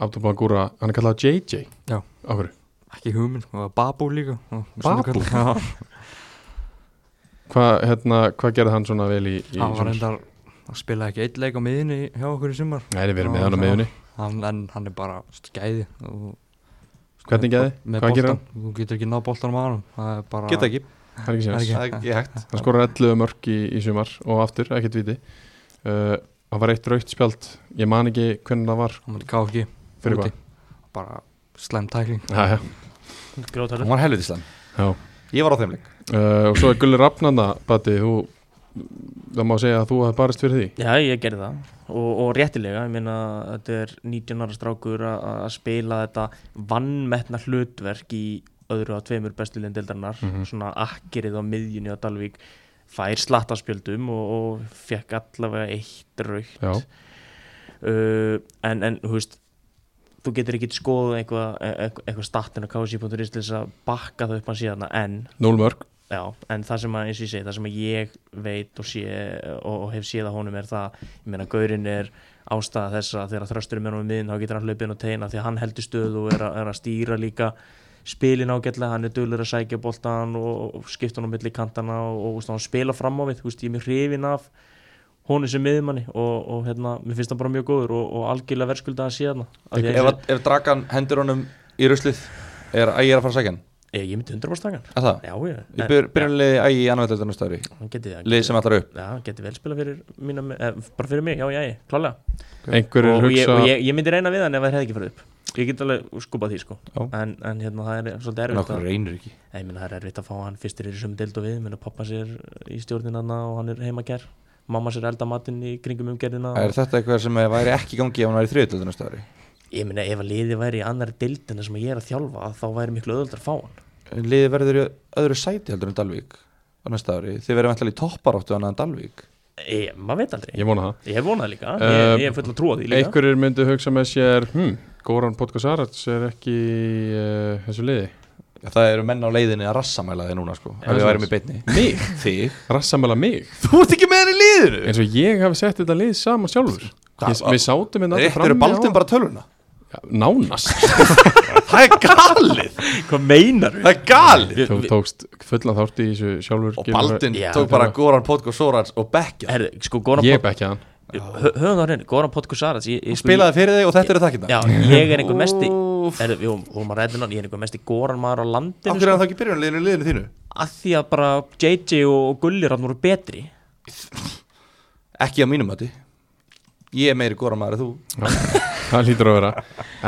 Abdul Bangura, hann er kallað JJ Já. á hverju, ekki hugminn, og það var Babu líka og svona Babu? kall- Já, hvað hérna, hva gerði hann svona vel í, í hann var sumar? reyndar hann spilaði ekki eitt leik á miðinni hjá okkur í sumar Nei, við erum með hann á miðjunni hann, en hann er bara þú veist, gæði og, Hvernig gæði? með Hvað gerir boltan, þú getur ekki náð boltanum á hann það er bara Geta ekki, Það er ekki Það er séns ekki- það er ekki hægt Hann skorar 11 mörg í, í sumar og aftur, ekkert viti uh, Hann var eitt raukt spjald Ég man ekki hvernig það var hann var káki fyrir Úti. hvað bara slem tækling Já, já, Grátarur. Hún var helvitislega já. Ég var á þeim leik Uh, Og svo er Gulli Rafnanda Bati, þú Það má segja að þú hafi barist fyrir því Já, ég gerði það og, og réttilega, ég meina þetta er 19 ára strákur að að spila þetta vannmetna hlutverk í öðru af tveimur bestu lindeildarinnar svona akkerið á miðjunni á Dalvík fær slattaspjöldum og, og fekk allavega eitt raukt Já, uh, en, en þú veist þú getur ekki skoðað eitthvað eitthvað, eitthvað statinn á kc.is til þess að bakka það upp hann síðan en 0 mörg Já, en það sem að, eins og ég segi, það sem að ég veit og sé og, og hef séð að honum er það, ég meina, gaurinn er ástæða þess að þegar þrösturinn er á miðin þá getur hann hlaupið inn og teina því að hann heldur stöðu og er, að- er að stýra líka spilin ágætlega, hann er dölur að sækja boltan og, og skipta hann á milli kantana og, og þú veist, hann spila fram á við, þú veist, ég er mér hrifin af honum sem miðjumanni og, og hérna, mér finnst hann bara mjög góður og, og algjörlega verðskulda að sé þarna Af því Ef, að eins og- að- ef dragan hendur honum í ruslið Er ægir að fara að sækja hann? Ég ég myndi 100% taka hann Er það? Já, Ég ég, byr, byrjunlega ægi í annarveldöldunum stöðri hann geti það Lið sem allar upp Já, hann geti vel spila fyrir mína, eh, bara fyrir mig, já, já, já, klálega Einhverjir og, ég, hugsa og ég, ég myndi reyna við hann ef það hefði ekki farið upp Ég get alveg skupað því, sko Já. en, en hérna, það er svolítið En erfitt okkur að, reynir ekki Nei, ég minna, það er erfitt að fá hann fyrstir í þessum deild og við, ég minna, pappa sér í stjórninanna og hann er heimakær Mamma sér að elda matinn í kringum umgerðina Er þetta eitthvað sem væri ekki í gangi ef hann væri í þriðutöldunum stöðri? Ég minna, ef að liði væri í annar deildina sem ég er að þjálfa þá væri miklu öðvöldar að fá hann Liði verður í öðru sæti heldur en Dalvík á næsta ári Þið verður vantilega í topparáttu annað en Dalvík ég, Maður veit aldrei, Ég vona það ég hef vonað líka Ehm, Eh, Ég, ég er full að trúa því líka Einhverjir myndu hugsa með sér hm, Góran Podkasarats er ekki í uh, þessu liði Það eru menn á leiðinni að rassamæla þig núna sko Ef það við er værum í beinni Mig? Þig? Rassamæla mig Þú ert ekki með hann í liðinu eins og ég hafi sett þetta lið saman sjálfur ég, Við sátum hérna allir Rétt eru frammi baldum á- bara tölvuna Já, Nánast [laughs] Það er galið Hvað meinar Það er galið Þú tókst fullan þátt í þessu sjálfur Og Gylfi. Baldin Já, tók bara Goran Podko Sorans og Beckja Herðu, sko, Goran Ég bekkja hann Hö- höfum það á hreinu, Goran Podkusarats ég, ég, sko, Spilaði fyrir þig og þetta eru þakkirna Já, ég er einhver mesti Úff. er, Jú, hún var ræðin hann, ég er einhver mesti góran maður á landinu Akkur er sko, hann þá ekki byrjun liðinu í liðinu þínu? að því að bara JJ og og Gulli rann voru betri Ekki á mínum mati Ég er meiri Goran maður en þú Það lítur að vera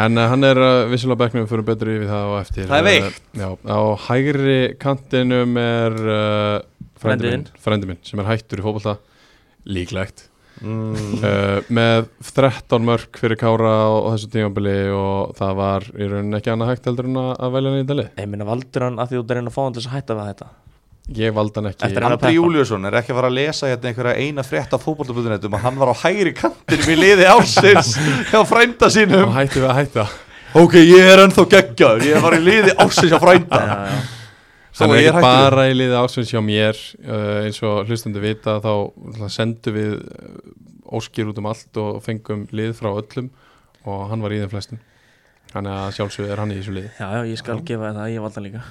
En uh, hann er uh, vissulega á bekknum fyrir betri við það á eftir Það er veikt. Uh, Já, á hægri kantinum er uh, Frændi frændi minn, frændi minn sem er hættur í fótbolta Líklegt uh, Með 13 mörg fyrir Kára og þessu tímabili og það var í rauninni ekki annað hægt heldur en að- að velja hann í dali Ég minna valdur hann að því þú ert að reyna að fá hann til þess að hætta við þetta Ég valdi hann ekki Eftir að- Andri peppa. Júliusson er ekki að fara að lesa hérna einhverja eina frétt af fótbolltablutunetum að hann var á hægri kantinum í liði [laughs] ásins hjá frænda Hann sínum hætti við að hætta Ok, ég er ennþá geggjaður, ég var í liði ásins hjá frænda Já, já, Svo Þannig ég er ekki hættur bara í liði ásins hjá mér uh, eins og hlustandi vita þá náttúrulega, sendum við uh, óskir út um allt og fengum lið frá öllum og hann var í þeim flestum Þannig að sjálfsögðu er hann í þessu liði Já, já, ég skal gefa þér það, ég valda líka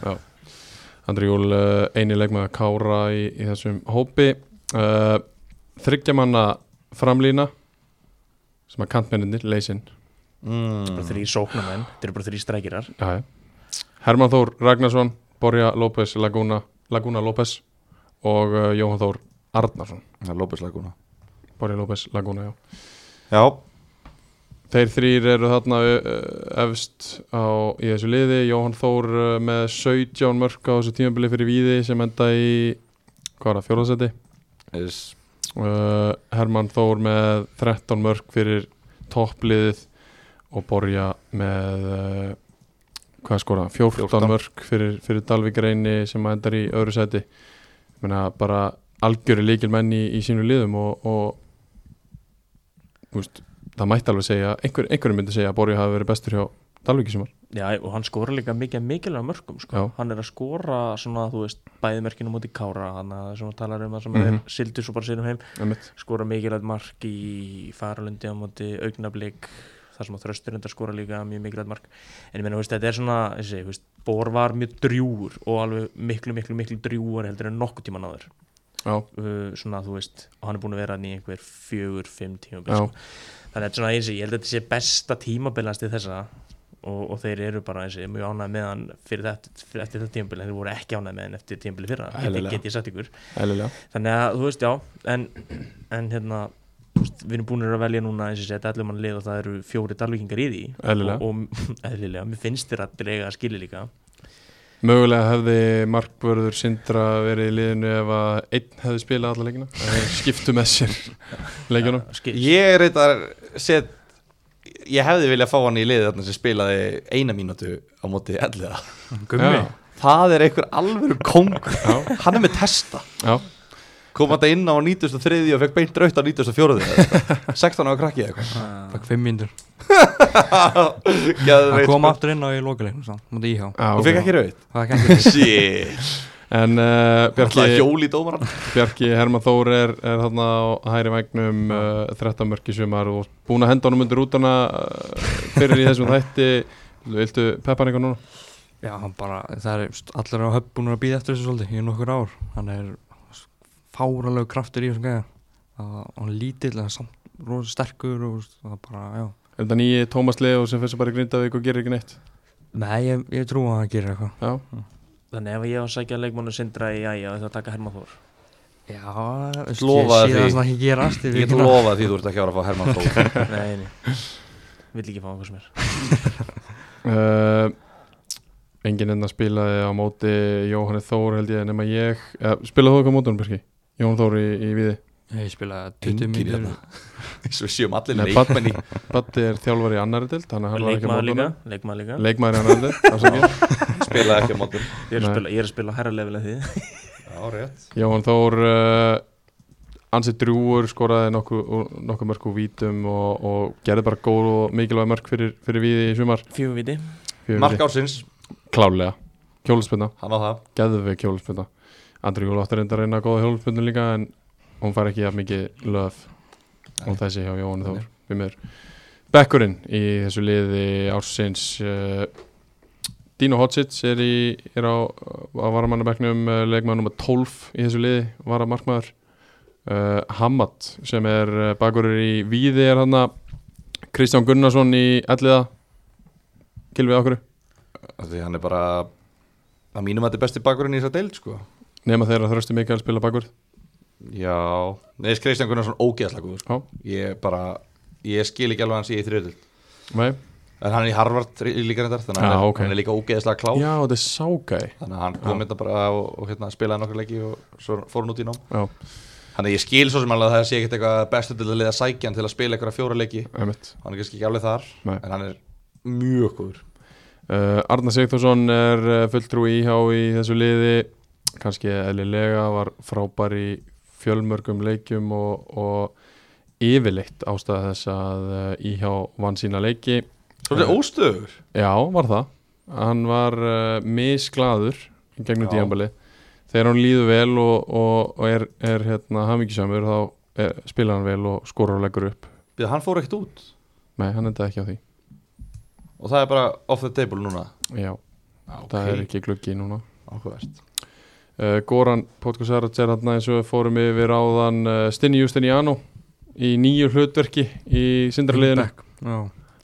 Andri Júl uh, einileg með að kára í, í þessum hópi uh, Þryggjamanna framlína sem að kantmenninir leysinn Mm. Bara þrý sóknamenn, þetta eru bara þrý strækirar Jæja. Herman Þór Ragnarsson Borja López Laguna, Laguna López og uh, Jóhann Þór Arnarsson Það er López Laguna Borja López Laguna, já Já, Þeir þrýr eru þarna uh, efst á, í þessu liði Jóhann Þór uh, með 17 mörg á þessu tímabili fyrir Víði sem enda í hvað er það, fjóðarsæti yes. uh, Herman Þór með 13 mörg fyrir toppliðið og Borja með uh, hvað skora, 14, 14. 14. mörg fyrir, fyrir Dalvik Reyni sem endar í öðru sæti Ég meina bara algjöru líkil menn í, í sínu liðum og, og þú veist, það mætti alveg segja einhver, einhverjum myndi segja að Borja hafi verið bestur hjá Dalviki sem var Já, og hann skora líka mikið mikilvæg mörgum sko. Já. Hann er að skora svona, þú veist, bæði mörkinu múti kára Þannig að það sem hann talar um að sem Mhm. þeir sildu svo bara sérum heim Einmitt. Skora mikilvægt mark í faralundi á múti augnablík Þar sem að þröstur enda skora líka mjög mikilvægt mark En ég meina, þú veist, þetta er svona, ég segi, þú veist, Bór var mjög drjúur og alveg miklu, miklu, miklu drjúur heldur en nokkuð tíma náður Já, uh, svona þú veist og hann er búin að vera hann í einhver fjögur, fimm tíma Já. sko. þannig að þetta er svona eins og ég held að þetta sé besta tímabilast í þessa og, og þeir eru bara eins og ég mjög ánægð með hann fyrir þetta, fyrir eftir þetta tímabil en þeir voru ekki ánægð með hann eftir tímabili fyrra þetta Eðlilega. get ég sagt ykkur eðlilega þannig að þú veist já en, en hérna þú veist, við erum búin að velja núna eins og ég segi þetta allir mann lið og það eru fjóri dalvíkingar í því Eðlilega. og, og [laughs] eðlilega, mér finnst þér að brega að skilja líka Mögulega hefði markvörður Sindra verið í liðinu ef að einn hefði spilað alla leikina að þeir skiptu með sér leikjunum Skil- Ég er eitthvað set Ég hefði viljað fá hann í liðið þarna sem spilaði eina mínútu á móti elliða Já, Það er einhver alvöru kongur Já. Hann er með testa já, Kom þetta inn á 93 og fekk beint raut á 94 eða eitthvað. 16 á krakki eða Takk fimm mínútur eitthvað Geðveikt, Það kom sko. aftur inn á í lokaleginu samt Mútið íhá já Og ok. fekk ekki raut Það er ekki [laughs] Shit En uh, Það Bjarki, hjóli dómaran Bjarki Herman Þór er, er þarna á hæri vægnum uh, 13 mörki sumar og búin að henda honum undir útana uh, fyrir í þessum þætti Viltu peppa hann eitthvað núna? Já, hann bara, það er st- allir á höfn búin að býða eftir þessu svolítið í nokkur ár hann er s- fáralegu kraftur í þessum gæða Það- hann er lítill en samt rosa sterkur og s- það er bara, já Er þetta nýji Tómas Leo sem fyrir sem bara í Grindavík og gerir ekki neitt? Nei, ég, ég trú að hann gerir eitthvað Já, þannig ef ég á að sækja leikmannu sindra í æja þá taka [laughs] Herman Þór Já, það er Lofaðu Ég sé því. það svona ekki gerast Ég get lofa því þú ert ekki að fara að fá Herman Þór [laughs] Nei, nei Vill ekki fá einhver sem er uh, enginn enn að spilaði á móti Jóhanni Þór held ég nema ég uh, spilaði þú eitthvað á mótunum Björki? Jóhann Þór í, í viði Ég spilaði 20 Engir mínútur hérna. Svo séum allir Nei, leikmenn í Batti er þjálfari í annari dild þannig að hann var ekki á Leikmaður líka mótunum Leikmaður líka Leikmaður í annari [laughs] dild afsakið. [laughs] Spilaði ekki á mótum Ég er að Nei. spila, ég er að spila herra level [laughs] að því Já, rétt Jóhann Þór uh, ansið drúur skoraði nokkuð nokku mörg úr vítum og, og gerði bara góð og mikilvæg mörg fyrir, fyrir viði í sumar Fjögum viti Fyrir Mark Viði. ársins, klálega kjóluspenna, hann á það geðveg kjóluspenna Andri Júl áttur reyndar reyna góða hjóluspennu líka en hún fær ekki að mikið löf og þessi hjá Jóhann Þór við mér Bekkurinn í þessu liði ársins uh, Dino Hotsits er, í, er á, á varamannabekknum uh, leikmaður nummer 12 í þessu liði varamarkmaður uh, Hamad sem er uh, bakurur í Víði er hann Kristján Gunnarsson í Elliða Kilvið okkur Af Því hann er bara að mínum að þetta er besti bakurinn í þess að deild sko nema þeirra þrösti mikið að spila bakur Já, neðis Kristján Gunnarsson ógeðslega góður Já. sko. Ég bara, ég skil ekki alveg hans í þriðutil Nei. En hann er í Harvard í- líka reyndar Þannig að Já, hann, Ah, ok. okay. hann er líka ógeðslega klá Já, þetta er ságæ Þannig að hann kom hérna bara og, og hérna, spilaði nokkur leiki og svo fór hann út í nám Já, Þannig að ég skil svo sem alveg að það sé ekkert eitthvað bestu til að liða sækjan til að spila eitthvað fjóra leiki einmitt Hann er kannski ekki alveg þar Nei. En hann er mjög góður Uh, Arna Sigþórsson er uh, fulltrú íhá í þessu liði kannski eðlilega var frábær í fjölmörgum leikjum og, og yfirleitt ástæða þess að uh, íhá vann sína leiki Svolítið óstöður Já, var það Hann var uh, misglaður í gegnum Já. tíambali Þegar hann líður vel og, og, og er, er hérna, hamingisamur þá eh, er, spilar hann vel og skorur og leggur upp Býða, hann fór ekkert út Nei, hann endaði ekki á því og það er bara off the table núna Já, það er ekki gluggi núna áhugavert uh, Goran Podkosarats er hann eins og við fórum yfir áðan uh, Stinni Justiniano í nýju hlutverki í sindarliðinu já,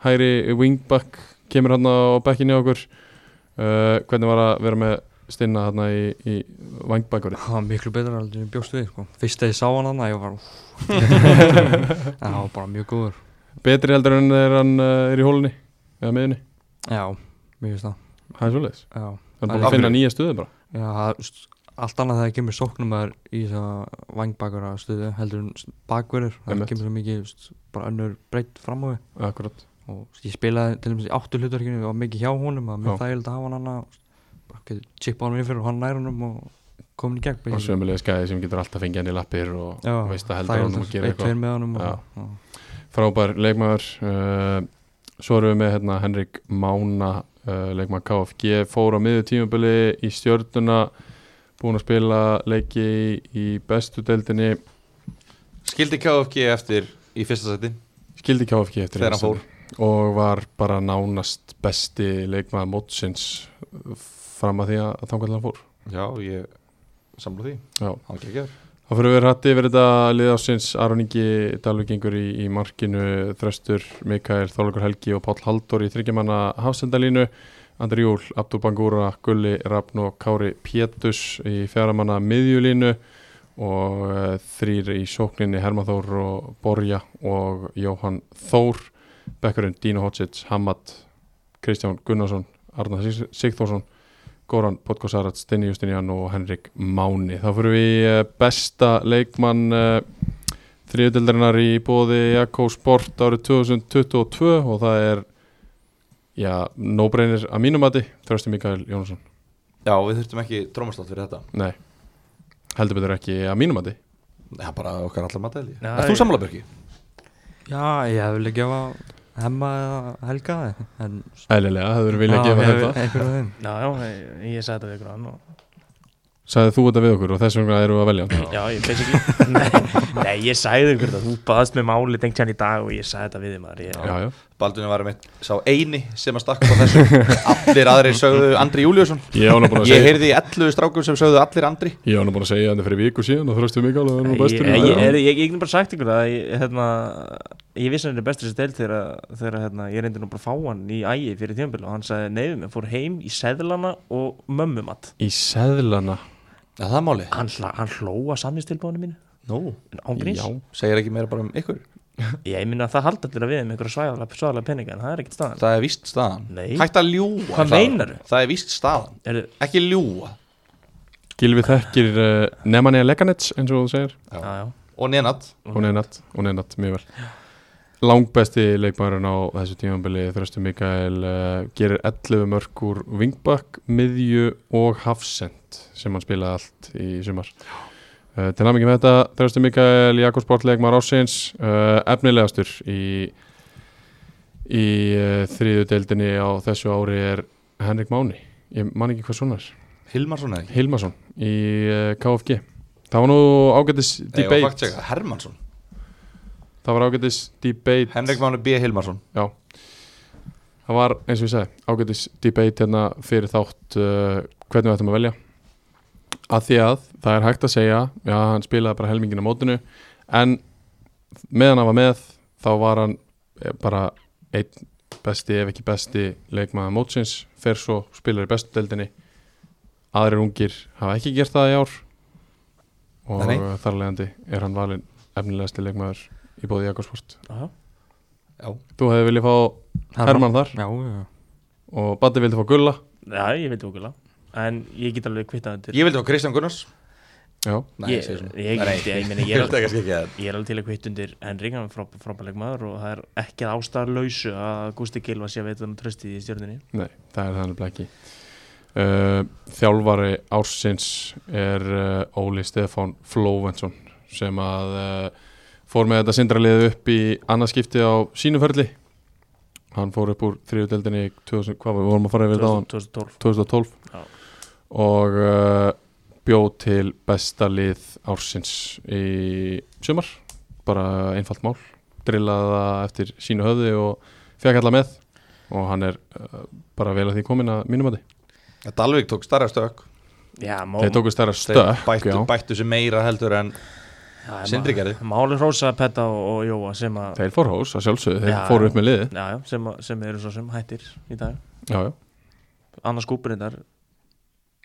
hæri wingback kemur hann á bekkinni á okkur uh, hvernig var að vera með Stinna hann í, í vangbakkurinn það var miklu betra heldur en ég bjóst við sko. fyrst þegar ég sá hann hann ég [laughs] var úff. en það var bara mjög góður betri heldur en þegar hann uh, er í hólunni eða miðunni, já, mér finnst það það er svoleiðis já, hann er Af búin að hverju? finna nýja stuði bara já það, er st- allt annað þegar kemur sóknumæður í þess að vangbakara stuðu heldur en bakverður það Einmitt. kemur svo mikið st- bara önnur breytt fram á við akkurat, og st- ég spilaði til dæmis í áttu hlutverkinu og mikið hjá honum að Já. mér þægild að hafa hann annað bara getur chipa hann innfyrir og hann nær honum og komin í gegn og basically. sömulega skæði sem getur alltaf fengið hann í lappir og Já, og veist að heldur hann að gera eitt eitthvað tveir með honum og, Já. já. frábær leikmaður uh, svo erum við með hérna, Henrik Mána uh, leikmaður KFG fór á miður tímabili í stjörnuna búin að spila leiki í, í bestu deildinni skildi KFG eftir í fyrsta seti skildi KFG eftir Þegar hann einu sinni og var bara nánast besti leikmaður mótsins uh, fram að því að þangar hann fór já, ég samla því Já. hann gekkjaður þá fyrir við rætti yfir þetta lið ásins Aron Ingi Dalvigengur í, í markinu Þröstur, Mikael, Þorlegur Helgi og Páll Halldór í þryggjamanna hafsendalínu Andri Júl, Abdur Bangura, Gulli Rafn og Kári Pétus í fjaramanna miðjulínu og uh, þrýr í sókninni Herman Þór og Borja og Jóhann Þór Bekkurinn, Dino Hotsits, Hamad Kristján Gunnarsson, Arna Sig- Sigþórsson Goran Podkosarat, Steini Justinjan og Henrik Máni. Þá fyrir við í, eh, besta leikmann eh, þriðutildarinnar í bóði Jakko Sport árið 2022 og það er já, no-brainer að mínumati Þrösti Mikael Jónsson. já, við þurftum ekki trómastátt fyrir þetta Nei, heldur betur ekki að mínumati. það er bara okkar allar matæli Já, er þú ég- samla Björki? já, ég hef vilja gefa hemma eða helga það en Ælilega, það verður vilja að gefa þetta. einhverjum þeim Já, já, ég- ég sagði þetta við ykkur annan og... Sagði þú þetta við okkur og þess vegna erum við að velja hann. Já, ég basically [laughs] nei, nei, ég sagði ykkur þetta Þú um baðast með máli tengt hann í dag og ég sagði þetta við þig, maður ég, Já, já. Baldunum var mitt sá eini sem að stakka á [laughs] þessu allir aðrir sögðu Andri Júliusson Ég ána búin að ég segja, heyrði í 11 strákum sem sögðu allir Andri ég ána búin að segja þetta fyrir viku síðan og Þrösti Mikael og það er nú Ég, bestur. ég, ég, ég, ég, ég get bara sagt ykkur það að ég, hérna, ég vissi hann er bestur þessi deild þegar, þegar hérna, ég reyndi nú bara að fá hann í ægi fyrir tímabili og hann sagði neyfum ég fór heim í seðlana og mömmumat Í seðlana. Já, það er máli hann, hla- hann hlóa samnistilbóðinu mínu Ah, Nú, ángríns, Já. segir ekki meira bara um ykkur ég minna að það haldi allir að við um einhverja svæðalega, svæðalega peninga en það er ekkert staðan Það er víst staðan Nei. Hætt að ljúa Hvað sagði meinarðu? hann. Það er víst staðan er, Ekki ljúa Gilvi þekkir uh, Nemanja Leganets eins og þú segir Já. já, já. Og nenat og Nenat, og Nenat mjög vel langbesti leikmæðurinn á þessu tímanbili Þröstu Mikael uh, gerir 11 mörg úr Vingbakk, Miðju og Hafsend sem hann spilaði allt í sumar uh, til námið með þetta Þröstu Mikael, Jakobs Bortleikmar Ársins uh, efnilegastur í, í uh, þriðu deildinni á þessu ári er Henrik Máni ég man ekki hvað svona er Hilmarsson eða ekki Hilmarsson í eh, KFG Það var nú ágætis Nei, og fakt debate segja, Hermansson Það var ágætis debate Henrik Máni B. Hilmarsson Já Það var eins og ég segi ágætis debate hérna fyrir þátt uh, hvernig við ættum að velja að því að það er hægt að segja já, hann spilaði bara helmingin á mótinu en meðan hann var með þá var hann eh, bara einn besti ef ekki besti leikmaða mótsins, fer svo spilar í bestu deildinni aðrir ungir hafa ekki gert það í ár og Nei, Nei. nei. þar leiðandi er hann valinn efnilegasti leikmaður í bóði Jakobsport já, já. Já Þú hefði viljað fá Herman þar já, já, og Batti vildi fá Gulla já, ég veit okkur en ég get alveg kvittað undir Ég vildi á Kristján Gunnars Já, Nei, ég, segir svona. ég, Nei, ég, ég, meina, Ég [laughs] ég, vildi er, ekki ekki það ég er alveg til að kvitt undir Henrik, hann er frábæ- frábæleg maður og það er ekki að ástæðarlausu að Gústi Gilva sé að veita hann tröstið í stjórninni nei, það er þannig ekki uh, Þjálfari ársins er uh, Óli Stefán Flóvensson sem að uh, fór með þetta sindralið upp í annarskipti á sínuferli Hann fór upp úr þriðudeldinni 2000, hvað var- við vorum að fara yfir þetta á 2012 2012 Já. og uh, bjóð til besta lið ársins í sumar bara einfalt mál drillaði það eftir sínu höfði og fekk alla með og hann er uh, bara vel að því komin að mínum að Dalvik tók starra stök Já, má, þeir tóku stærra Þeir stökk bættu, já. bættu sér meira heldur en já, Sindri gerði. Máli hrósa Petta og, og Jóa sem að þeir fór hós að sjálfsögðu, þeir Já. fóru upp með liði já, já, sem, að- sem eru svo sem hættir í dag já, já, annars kúpurindar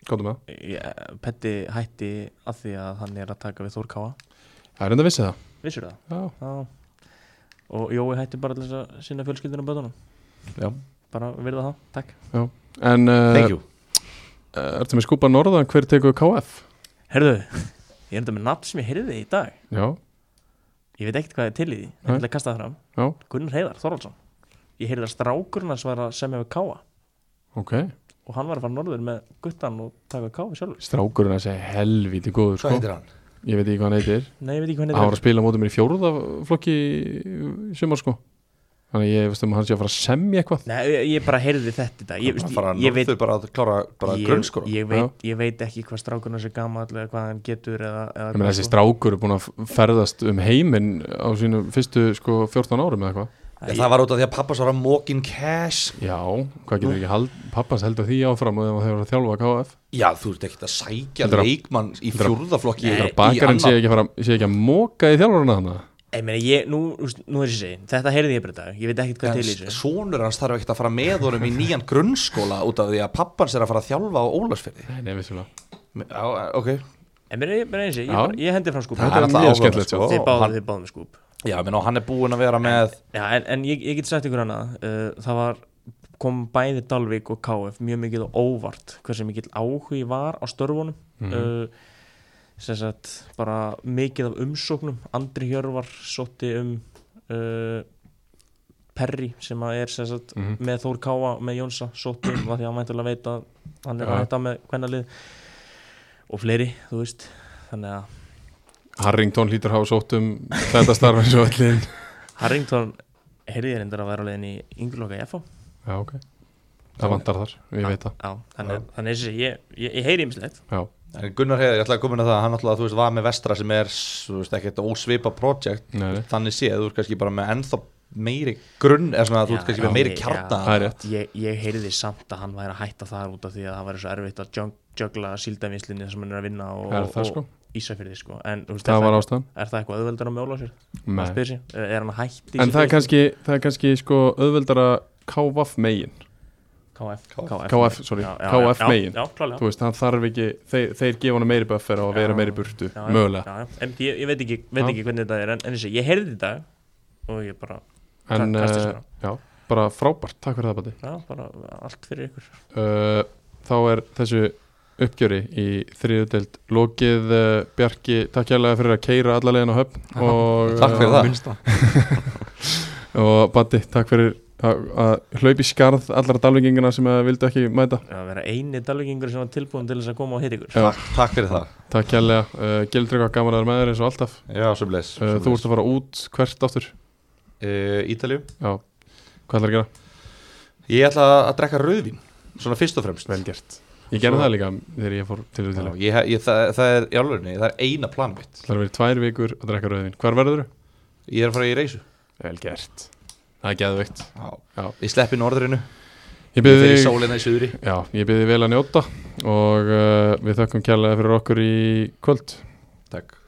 gáttum með það eh, Petti hætti að því að hann er að taka við Þór Káa það er enda vissið það Vissur það? já, Já. Og Jói hætti bara til þess að sinna fjölskyldunum bötunum já. bara virða það, takk en Thank uh, you ertu með skúpa norðan hver tekur KF? Herðu, [laughs] ég er enda með nafn sem ég heyrði í dag já, ég veit ekkert hvað er til í því, Nei. en ég ætla að kasta það fram já, Gunnar Heiðar Þorvaldsson ég heyrði að strákurinn hans var að semja við Káa ok og hann var að fara norður með guttan og taka Káa sjálfur strákurinn að segja helvíti góður Hvað sko. heitir hann? ég veit ekki hvað hann heitir Nei, ég veit ekki hvernig hann var þetta að spila á mótum mér í fjóruða flokki í sumar sko þannig að ég veist um að hann sé að fara að semja eitthvað er Nei, ég- ég bara heyrði þetta í dag ég, Ég, veist, fara, ég, ég veit Þau bara að klára bara ég, grunnskóla ég, veit, ég veit ekki hvað strákurinn hans er gamall eða hvað hann getur eða, eða ég meina hvað þessi sko. strákur er búin að ferðast um heiminn á sínum fyrstu sko 14 árum eða eitthvað Ég, það var út af því að pappa svo var að mókin cash já, hvað getur ekki hald, pappans heldur því áfram og þegar þeir voru að þjálfa KF Já, þú ert ekkert að sækja Heldur að- leikmann í heldur að- fjórðaflokki þegar bakarinn sé ekki, að fara, sé ekki að móka í þjálfaruna þannig Ég meina, ég, nú, þú veist, nú er ég segið, þetta heyrði ég bara í dag ég veit ekkert hvað til í þessu Sónur hans þarf ekkert að fara með honum í nýjan grunnskóla út af því að pappans er að fara að þjálfa á Ólarsfyrði nei, nei, vissulega Já, ok En mér er eins og ég, Já. bara- ég hendi fram skúpa Þetta er alltaf mjög áhugavert, skemmtilegt, sko. Þið Og báðu, hann- þið báðu með skúp Já, menn og hann er búinn að vera með Já, en, en ég, ég get sagt ykkur annað uh, það var, kom bæði Dalvik og KF mjög mikið og óvart hversu mikið áhugi var á störfunum uh, sem sagt bara mikið af umsóknum Andri Hjörvar sótti um uh, Perri sem að er sem sagt með Þór Káa með Jónsa sótti um af því að hann væntulega veit að hann er að Já. hætta með hvernalið og fleiri, þú veist þannig að Harrington hlýtur að hafa sótt um þetta starf eins og öllin Harrington heyrði ég reyndar að vera á leiðin í yngurloka í FH já, ok það vantar þar, ég veit það Já, þannig að- þannig að ég, ég, ég heyri ymslegt já, En Gunnar Heiðar, ég ætla að koma inn að það, hann alltaf, þú veist, var með Vestra sem er, þú veist, ekkert ósvipa projekt, Nei, nei. þannig séð, þú veist, kannski bara með ennþá meiri grunn, eða svona, þú Já, veist, kannski já, með meiri ég- kjarna. það er rétt ég, ég heyrði samt að hann væri að hætta þar út af því að það væri svo erfitt að jung- juggla síldavinslinni sem hann er að vinna og, Er það og sko? Ísafjörði sko en þú veist, það er, var það, ástæðan er það eitthvað auðveldar að mjóla sér? Nei. Er hann að hætti en það er kannski, það er kannski sko auðveldara KVF megin KF, KF, sorry, KF megin. Já, já klálega þú veist, það þarf ekki, þeir, þeir gefa hann meiri buffer á að vera meiri burtu, já, mögulega já, já. En ég, ég veit ekki, veit Já. ekki hvernig þetta er en, en þessi, ég heyrði þetta og ég bara, en, Ka- kastist uh, já, bara frábært, takk fyrir það Bati já, bara allt fyrir ykkur uh, þá er þessu uppgjöri í þriðudeld lokið uh, Bjarki, takk hérlega fyrir að keira allalegin á höfn og, eh, Takk fyrir það. minnsta og Bati, takk fyrir að að hlaupa í skarð allra dalvingingina sem að vildu ekki mæta að vera eini dalvikingur sem var tilbúin til þess að koma og hitt ykkur Já. Takk, takk fyrir það. takk hérlega, uh, gildur eitthvað gaman að vera með þér eins og alltaf Já, sem leys. uh, þú ert að fara út hvert aftur Uh, Ítalju. Já, hvað ætlar að gera? Ég ætla að drekka rauðvín, svona fyrst og fremst. Vel gert Ég gerði Svo- það líka þegar ég fór til því Já, til ég, hef- ég, það, það er, í alvegni, það er eina plan mitt. Það er verið tvær vikur að drekka rauðin Hvar verður þú? Ég er að fara í reysu. Vel gert Það er geðveikt Já. Já. Ég sleppi norðrinu, Ég ég byrði fer í þig sólinna í suðri. Já, ég byrði vel að njóta Og uh, við þökkum kærlega fyrir okkur í kvöld Takk.